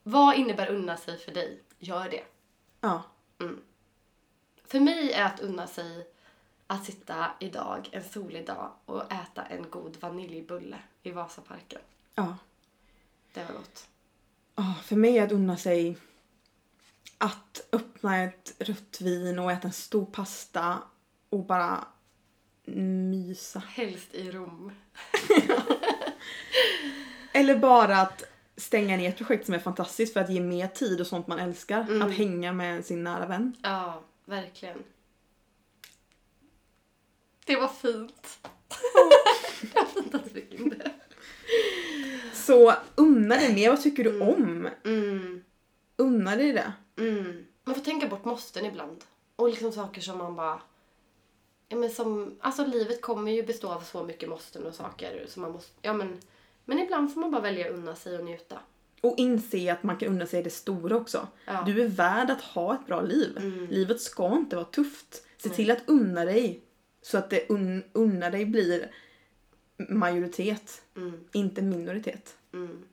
Speaker 1: vad innebär unna sig för dig? Gör det.
Speaker 2: Ja.
Speaker 1: För mig är att unna sig att sitta idag, en solig dag, och äta en god vaniljbulle i Vasaparken.
Speaker 2: Ja.
Speaker 1: Det var gott.
Speaker 2: Ah, för mig är att unna sig att öppna ett rött vin och äta en stor pasta och bara mysa.
Speaker 1: Helst i Rom.
Speaker 2: Eller bara att stänga ner ett projekt som är fantastiskt för att ge mer tid och sånt man älskar. Att hänga med sin nära vän.
Speaker 1: Ja, verkligen. Det var fint. det var fint att vi fick in det.
Speaker 2: Så unna dig mer. Vad tycker du om?
Speaker 1: Mm,
Speaker 2: Unna dig det.
Speaker 1: mm. Man får tänka bort måsten ibland. Och liksom saker som man bara... Ja, men som, alltså livet kommer ju bestå av så mycket måsten och saker som man måste... Ja, men, men ibland får man bara välja att unna sig och njuta.
Speaker 2: Och inse att man kan unna sig det stora också.
Speaker 1: Ja.
Speaker 2: Du är värd att ha ett bra liv. Livet ska inte vara tufft. Se till att unna dig så att det un unna dig blir majoritet,
Speaker 1: Mm.
Speaker 2: inte minoritet.
Speaker 1: Mm.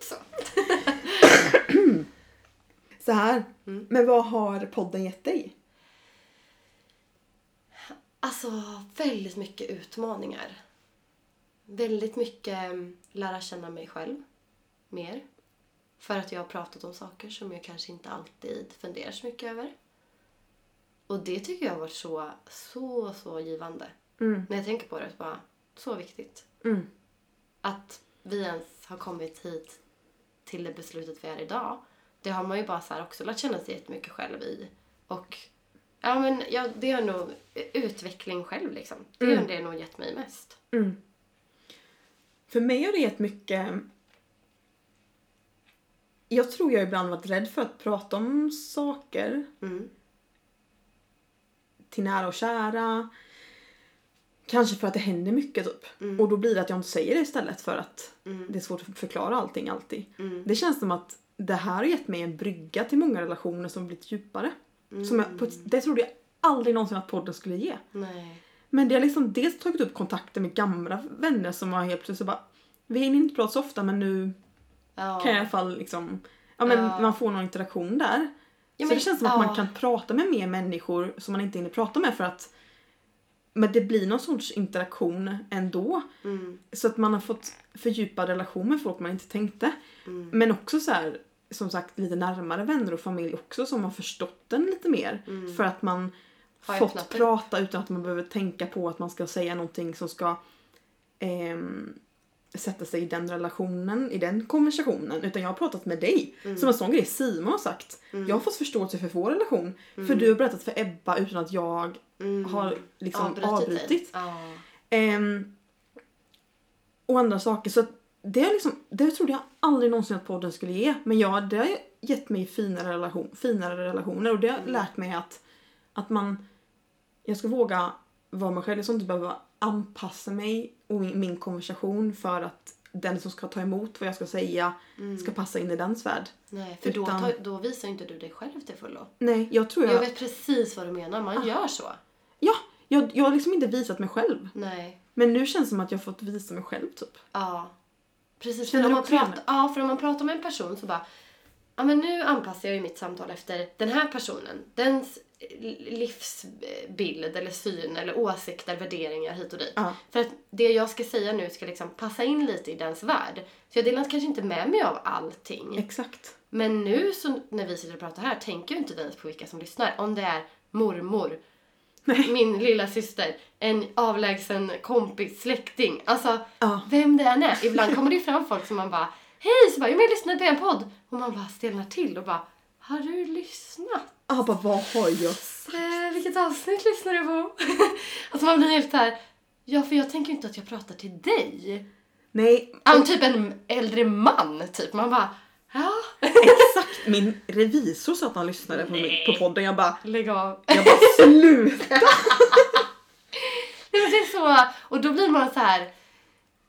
Speaker 1: så.
Speaker 2: Så här. Men vad har podden gett dig?
Speaker 1: Alltså, väldigt mycket utmaningar. Väldigt mycket mm, lära känna mig själv mer. För att jag har pratat om saker som jag kanske inte alltid funderar så mycket över. Och det tycker jag har varit så, så, så givande.
Speaker 2: Mm.
Speaker 1: När jag tänker på det, bara, så viktigt.
Speaker 2: Mm.
Speaker 1: Att vi ens har kommit hit till det beslutet vi är idag, det har man ju bara så här också lärt känna sig jättemycket själv i. Och ja, men ja, det är nog utveckling själv liksom. Det är det nog gett mig mest.
Speaker 2: Mm. För mig har det gett mycket... Jag tror jag ibland varit rädd för att prata om saker
Speaker 1: Mm.
Speaker 2: till nära och kära. Kanske för att det händer mycket typ. Och då blir det att jag inte säger det istället för att det är svårt att förklara allting alltid. Det känns som att det här har gett mig en brygga till många relationer som blivit djupare. Som jag, på ett, det trodde jag aldrig någonsin att podden skulle ge.
Speaker 1: Nej.
Speaker 2: Men det har liksom dels tagit upp kontakter med gamla vänner som har helt plötsligt bara Vi hinner inte prata så ofta men nu
Speaker 1: Ja.
Speaker 2: kan jag i alla fall liksom Ja men
Speaker 1: Ja.
Speaker 2: man får någon interaktion där.
Speaker 1: Ja,
Speaker 2: så
Speaker 1: men-
Speaker 2: det känns som
Speaker 1: ja.
Speaker 2: att man kan prata med mer människor som man inte hinner prata med för att Men det blir någon sorts interaktion ändå.
Speaker 1: Mm.
Speaker 2: Så att man har fått fördjupa relationer med folk man inte tänkte.
Speaker 1: Mm.
Speaker 2: Men också så här, som sagt lite närmare vänner och familj också som har förstått den lite mer. För att man
Speaker 1: Mm. Har
Speaker 2: fått
Speaker 1: öppnat upp.
Speaker 2: prata utan att man behöver tänka på att man ska säga någonting som ska ehm, sätta sig i den relationen, i den konversationen. Utan jag har pratat med dig.
Speaker 1: Mm.
Speaker 2: Som en sån grej Simon har sagt. Jag har fått förståelse för vår relation.
Speaker 1: Mm.
Speaker 2: För du har berättat för Ebba utan att jag har liksom
Speaker 1: Avbrutit dig.
Speaker 2: avbrutit.
Speaker 1: Ja.
Speaker 2: Ehm, och andra saker. Så att det, är liksom, det trodde jag aldrig någonsin att podden skulle ge. Men ja, det har gett mig finare, relation, finare relationer och det har lärt mig att, att man, jag ska våga vara mig själv. Jag ska inte behöva anpassa mig och min, min konversation för att den som ska ta emot vad jag ska säga ska passa in i dens värld.
Speaker 1: Nej, för
Speaker 2: Utan-
Speaker 1: då, tar, då visar inte du dig själv till fullo.
Speaker 2: Nej, jag tror jag...
Speaker 1: Jag vet precis vad du menar, man
Speaker 2: Ah.
Speaker 1: gör så.
Speaker 2: Ja, jag, jag har liksom inte visat mig själv.
Speaker 1: Nej.
Speaker 2: Men nu känns det som att jag fått visa mig själv typ.
Speaker 1: Ja. Precis,
Speaker 2: Känner
Speaker 1: för om,
Speaker 2: du
Speaker 1: man
Speaker 2: också igen
Speaker 1: pratar, ja, för om man pratar med en person så bara Ja men nu anpassar jag ju mitt samtal efter den här personen. Dens eh, livsbild eller syn eller åsikter, värderingar hit och dit.
Speaker 2: Ja.
Speaker 1: För att det jag ska säga nu ska liksom passa in lite i dens värld. Så jag delar kanske inte med mig av allting.
Speaker 2: Exakt.
Speaker 1: Men nu så när vi sitter och pratar här tänker ju inte vi ens på vilka som lyssnar. Om det är mormor, min lilla syster, en avlägsen kompis, släkting. Alltså
Speaker 2: Ja.
Speaker 1: vem det än är. Ibland kommer det ju fram folk som man bara Hej! Så bara, jag lyssnar på en podd. Och man bara stelnar till och bara Har du lyssnat?
Speaker 2: Ah, bara, vad har jag
Speaker 1: Eh, vilket avsnitt lyssnar du på? alltså man blir helt såhär Ja för jag tänker ju inte att jag pratar till dig.
Speaker 2: Nej,
Speaker 1: Ja, men typ en äldre man typ. Man bara Ja.
Speaker 2: exakt. Min revisor sa att han lyssnade på, mig, på podden. Jag bara,
Speaker 1: Lägg av.
Speaker 2: jag bara sluta.
Speaker 1: Nej, men det är så, och då blir man så här.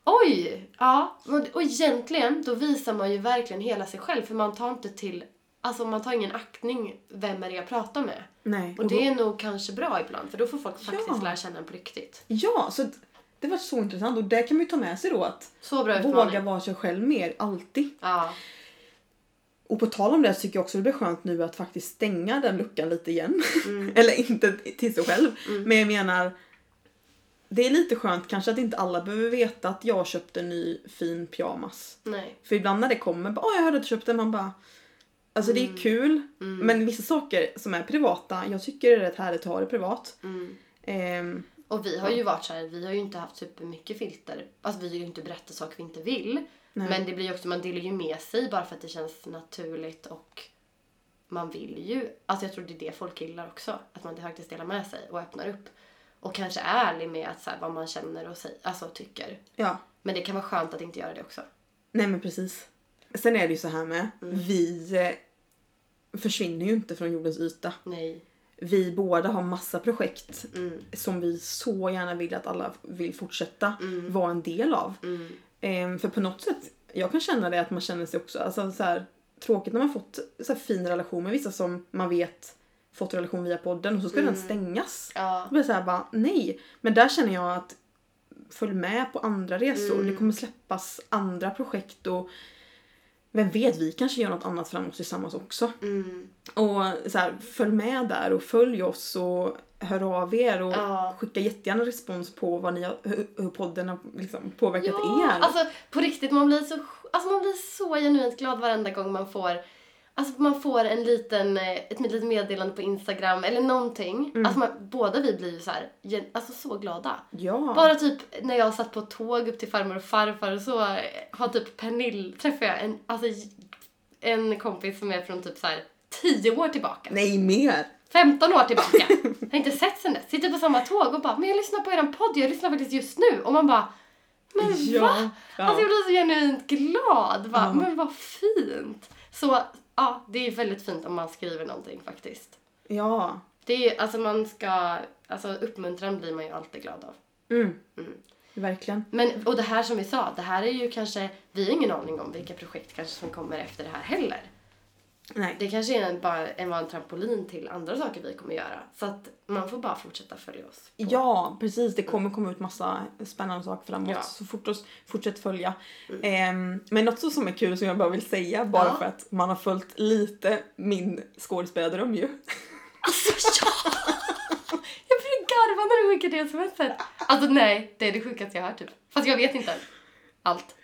Speaker 1: Oj! Ja, och- och egentligen då visar man ju verkligen hela sig själv för man tar inte till, alltså man tar ingen aktning, vem är det jag pratar med?
Speaker 2: Nej.
Speaker 1: Och det är nog kanske bra ibland för då får folk faktiskt
Speaker 2: Ja.
Speaker 1: lära känna en på riktigt.
Speaker 2: Ja, så att det var så intressant och det kan man ju ta med sig då att
Speaker 1: Så bra
Speaker 2: våga
Speaker 1: utmaning.
Speaker 2: vara sig själv mer alltid.
Speaker 1: Ja.
Speaker 2: Och på tal om det så tycker jag också det blir skönt nu att faktiskt stänga den luckan lite igen.
Speaker 1: Mm.
Speaker 2: Eller inte till sig själv, men jag menar det är lite skönt kanske att inte alla behöver veta att jag köpte en ny fin pyjamas.
Speaker 1: Nej.
Speaker 2: För ibland när det kommer, bara, åh jag hörde att du köpte den, man bara Alltså det är kul, men vissa saker som är privata, jag tycker det är rätt härligt att ha det privat.
Speaker 1: Mm.
Speaker 2: Ehm,
Speaker 1: Och vi har ju varit så här, vi har ju inte haft supermycket filter. Alltså vi vill ju inte berätta saker vi inte vill. Men det blir ju också, man delar ju med sig bara för att det känns naturligt och man vill ju. Alltså jag tror det är det folk gillar också. Att man faktiskt delar med sig och öppnar upp. Och kanske är ärlig med att så här, vad man känner och säger, alltså, tycker.
Speaker 2: ja,
Speaker 1: Men det kan vara skönt att inte göra det också.
Speaker 2: nej men precis. Sen är det ju så här med, vi eh, försvinner ju inte från jordens yta.
Speaker 1: Nej.
Speaker 2: Vi båda har massa projekt
Speaker 1: Mm,
Speaker 2: som vi så gärna vill att alla vill fortsätta
Speaker 1: mm,
Speaker 2: vara en del av. Ehm, för på något sätt, jag kan känna det att man känner sig också, alltså så här, tråkigt när man fått så här, fin relation med vissa som man vet fått relation via podden och så ska
Speaker 1: Mm.
Speaker 2: den stängas.
Speaker 1: Ja.
Speaker 2: Då blir det så här bara, nej. Men där känner jag att följ med på andra resor.
Speaker 1: Mm.
Speaker 2: Det kommer släppas andra projekt och vem vet, vi kanske gör något annat framåt tillsammans också.
Speaker 1: mm.
Speaker 2: Och så här, följ med där och följ oss och hör av er och
Speaker 1: Ja.
Speaker 2: skicka jättegärna respons på vad ni har, hur, hur podden har liksom påverkat
Speaker 1: Ja,
Speaker 2: er.
Speaker 1: alltså på riktigt, man blir, så, alltså man blir så genuint glad varenda gång man får Alltså man får en liten, eh, ett litet meddelande på Instagram eller någonting.
Speaker 2: Mm.
Speaker 1: Alltså man, båda vi blir ju så här, gen- alltså så glada.
Speaker 2: Ja.
Speaker 1: Bara typ när jag satt på tåg upp till farmor och farfar och så eh, har typ Pernilla, träffade jag en, alltså, j- en kompis som är från typ så här 10 år tillbaka.
Speaker 2: Nej, mer.
Speaker 1: 15 år tillbaka. Jag har inte sett sen dess. Sitter på samma tåg och bara, men jag lyssnar på eran podd, jag lyssnar faktiskt just nu. Och man bara, men
Speaker 2: Ja,
Speaker 1: va?
Speaker 2: ja.
Speaker 1: Alltså jag blir så genuint glad. Va?
Speaker 2: Ja.
Speaker 1: Men vad fint. Så ja, det är väldigt fint om man skriver någonting faktiskt.
Speaker 2: Ja.
Speaker 1: Det är ju, alltså man ska, alltså uppmuntran blir man ju alltid glad av.
Speaker 2: Mm. Verkligen.
Speaker 1: Men, och det här som vi sa, det här är ju kanske, vi har ingen aning om vilka projekt kanske som kommer efter det här heller.
Speaker 2: Nej.
Speaker 1: Det kanske är en, bara en, bara en trampolin till andra saker vi kommer göra. Så att man får bara fortsätta följa oss. på-
Speaker 2: Ja, precis. Det kommer komma ut massa spännande saker framåt.
Speaker 1: Ja. Mm.
Speaker 2: Så fort oss, fortsätt följa. Ehm, men något som är kul som jag bara vill säga, bara
Speaker 1: Ja.
Speaker 2: för att man har följt lite min skådespelardröm ju.
Speaker 1: Alltså ja! Jag började garva när du skickade det smset. Alltså nej, det är det sjukaste jag har hört typ. Fast jag vet inte allt.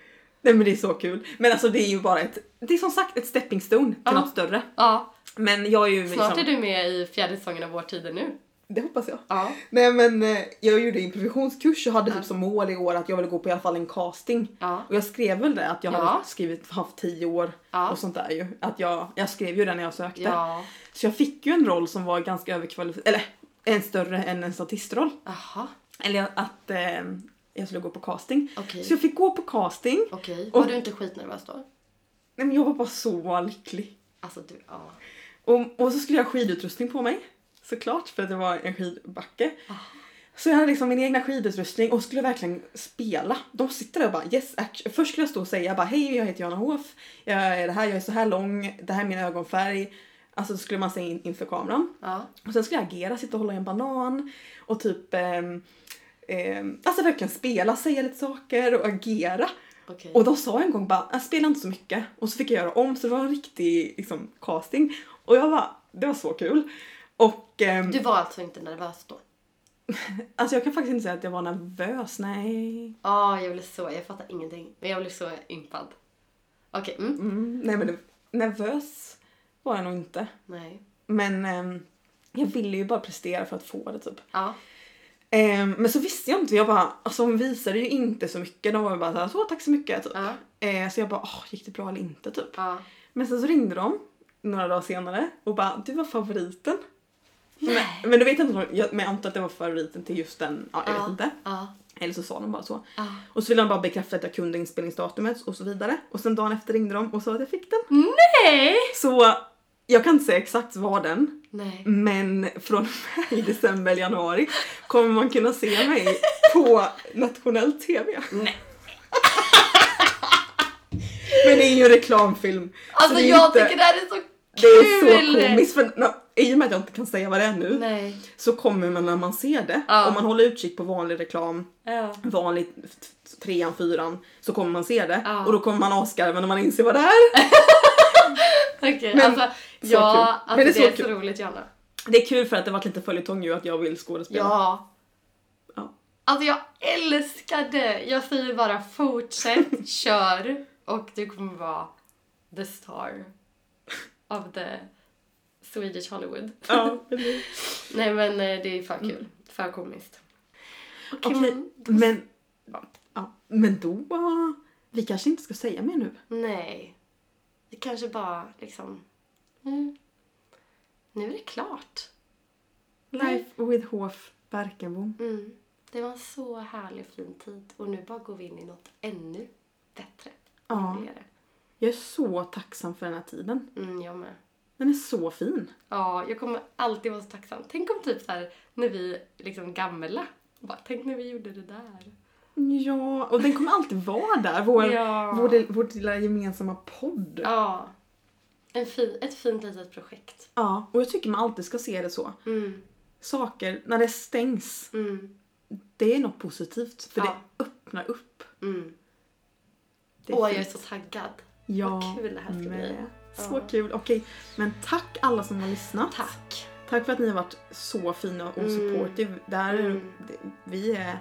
Speaker 2: Nej men det är så kul. Men alltså det är ju bara ett, det är som sagt ett stepping stone till
Speaker 1: Ja.
Speaker 2: något större.
Speaker 1: Ja,
Speaker 2: Men jag är ju
Speaker 1: snart är
Speaker 2: liksom,
Speaker 1: du med i fjärde säsongen av Vår tid är nu.
Speaker 2: det hoppas jag.
Speaker 1: Ja.
Speaker 2: Nej men eh, jag gjorde improvisationskurs och hade typ som mål i år att jag ville gå på i alla fall en casting.
Speaker 1: Ja.
Speaker 2: Och jag skrev väl det att jag
Speaker 1: Ja.
Speaker 2: hade skrivit, haft tio år
Speaker 1: Ja.
Speaker 2: och sånt där ju. Att jag, jag skrev ju det när jag sökte.
Speaker 1: Ja.
Speaker 2: Så jag fick ju en roll som var ganska överkvalificerad, eller en större än en statistroll.
Speaker 1: Aha.
Speaker 2: Eller att eh, jag skulle gå på casting.
Speaker 1: Okej.
Speaker 2: Så jag fick gå på casting.
Speaker 1: Okej,
Speaker 2: Och-
Speaker 1: var du inte skitnervös då?
Speaker 2: Nej, men jag var bara så lycklig.
Speaker 1: Alltså du, ja.
Speaker 2: Och, och så skulle jag ha skidutrustning på mig. Såklart, för att det var en skidbacke. Så jag hade liksom min egna skidutrustning och skulle verkligen spela. De sitter där och bara yes action. Först skulle jag stå och säga bara hej jag heter Johanna Hof. Jag är det här, jag är så här lång, det här är min ögonfärg. Alltså så skulle man säga in, inför kameran.
Speaker 1: Ja.
Speaker 2: Och sen skulle jag agera, sitta och hålla i en banan och typ ehm, ehm, alltså verkligen spela, säga lite saker och agera.
Speaker 1: Okej.
Speaker 2: Och då sa jag en gång bara, "Jag spelar inte så mycket. Och så fick jag göra om så det var en riktig liksom, casting. Och jag bara, det var så kul. Och ehm,
Speaker 1: Du var alltså inte nervös då?
Speaker 2: alltså jag kan faktiskt inte säga att jag var nervös, nej.
Speaker 1: Ja, jag blev så, jag fattar ingenting. Men jag blev så impad. Okej, mm.
Speaker 2: Mm, nej men det- nervös var jag nog inte.
Speaker 1: Nej.
Speaker 2: Men ehm, jag ville ju bara prestera för att få det typ.
Speaker 1: Ja.
Speaker 2: Ehm, men så visste jag inte, jag bara, alltså hon visade ju inte så mycket. De var ju bara såhär, så tack så mycket typ.
Speaker 1: Ja.
Speaker 2: Eh, så jag bara, "Åh, gick det bra eller inte typ.
Speaker 1: Ja.
Speaker 2: Men sen så ringde de några dagar senare och bara du var favoriten. Men, men du vet jag inte, om de- jag, men jag antar att det var favoriten till just den, ja, jag
Speaker 1: Ja.
Speaker 2: vet inte.
Speaker 1: Ja.
Speaker 2: Eller så sa de bara så.
Speaker 1: Ja.
Speaker 2: Och så ville de bara bekräfta att jag kunde inspelningsdatumet och så vidare. Och sen dagen efter ringde de och sa att jag fick den.
Speaker 1: Nej!
Speaker 2: Så jag kan inte säga exakt vad den,
Speaker 1: Nej.
Speaker 2: men från och med i december, januari kommer man kunna se mig på nationell TV.
Speaker 1: Nej.
Speaker 2: Men det är ju en reklamfilm. så
Speaker 1: Alltså
Speaker 2: det är
Speaker 1: jag
Speaker 2: inte-
Speaker 1: tycker det här är så kul!
Speaker 2: Det är så komiskt för no, i och med att jag inte kan säga vad det är nu
Speaker 1: Nej.
Speaker 2: så kommer man när man ser det.
Speaker 1: Ja.
Speaker 2: Om man håller utkik på vanlig reklam,
Speaker 1: Ja.
Speaker 2: vanlig t- t- trean, fyran så kommer man se det
Speaker 1: Ja.
Speaker 2: och då kommer man asgarva när man inser vad det är.
Speaker 1: Okej,
Speaker 2: Men-
Speaker 1: alltså,
Speaker 2: så
Speaker 1: ja,
Speaker 2: kul.
Speaker 1: alltså
Speaker 2: Men
Speaker 1: det är så,
Speaker 2: kul.
Speaker 1: roligt Johanna.
Speaker 2: Det är kul för att det varit lite följetong ju att jag vill skådespela.
Speaker 1: Ja.
Speaker 2: Ja.
Speaker 1: Alltså jag älskar det! Jag säger bara fortsätt, kör och du kommer vara the star of the Swedish Hollywood.
Speaker 2: Ja, Mm. precis.
Speaker 1: Nej men eh, det är för kul. För komiskt. Okej,
Speaker 2: Okej,
Speaker 1: men då-
Speaker 2: men,
Speaker 1: Ja.
Speaker 2: ja, men då... eh, Vi kanske inte ska säga mer nu.
Speaker 1: Nej. Det kanske bara liksom... Mm. Nu är det klart.
Speaker 2: Life with Hof Berkenbom.
Speaker 1: Mm. Det var en så härlig och fin tid och nu bara går vi in i något ännu bättre.
Speaker 2: Ja.
Speaker 1: Roligare.
Speaker 2: Jag är så tacksam för den här tiden.
Speaker 1: Mm, jag med.
Speaker 2: Den är så fin.
Speaker 1: Ja, jag kommer alltid vara så tacksam. Tänk om typ så här när vi liksom gamla. Bara, tänk när vi gjorde det där.
Speaker 2: Ja, och den kommer alltid vara där. Vår,
Speaker 1: Ja.
Speaker 2: vår, vår lilla gemensamma podd.
Speaker 1: Ja. En fin, ett fint litet projekt.
Speaker 2: Ja, och jag tycker man alltid ska se det så.
Speaker 1: Mm,
Speaker 2: Saker, när det stängs,
Speaker 1: mm,
Speaker 2: det är något positivt. För
Speaker 1: Ja.
Speaker 2: det öppnar upp.
Speaker 1: mm.
Speaker 2: Det
Speaker 1: Åh, jag är
Speaker 2: fint.
Speaker 1: så taggad.
Speaker 2: ja,
Speaker 1: vad kul det här ska
Speaker 2: med.
Speaker 1: bli.
Speaker 2: Så
Speaker 1: Ja.
Speaker 2: kul. Okej, men tack alla som har lyssnat.
Speaker 1: Tack.
Speaker 2: Tack för att ni har varit så fina och
Speaker 1: Mm.
Speaker 2: supportive. Där,
Speaker 1: Mm.
Speaker 2: det, vi är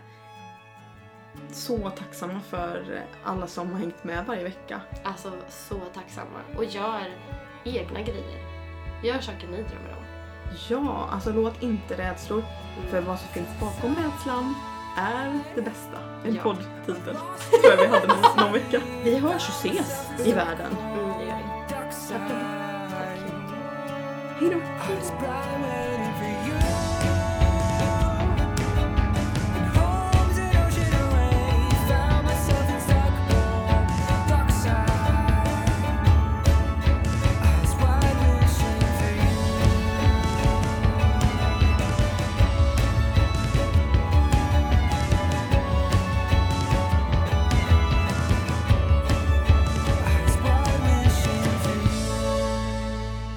Speaker 2: så tacksamma för alla som har hängt med varje vecka.
Speaker 1: Alltså så tacksamma. Och gör egna grejer. Gör saker ni drömmer om.
Speaker 2: Ja, alltså låt inte rädslor för vad som finns bakom rädslan är det bästa. En
Speaker 1: Ja.
Speaker 2: poddtitel tror jag vi hade någon, någon vecka. Vi hörs och ses i världen.
Speaker 1: Mm, det gör vi.
Speaker 3: Darkside.
Speaker 2: Hej då!
Speaker 3: Hearts bright waiting for you. And home's an ocean away. Found myself in Stockholm, dark side. Eyes wide wishing for you. Eyes wide wishing for you.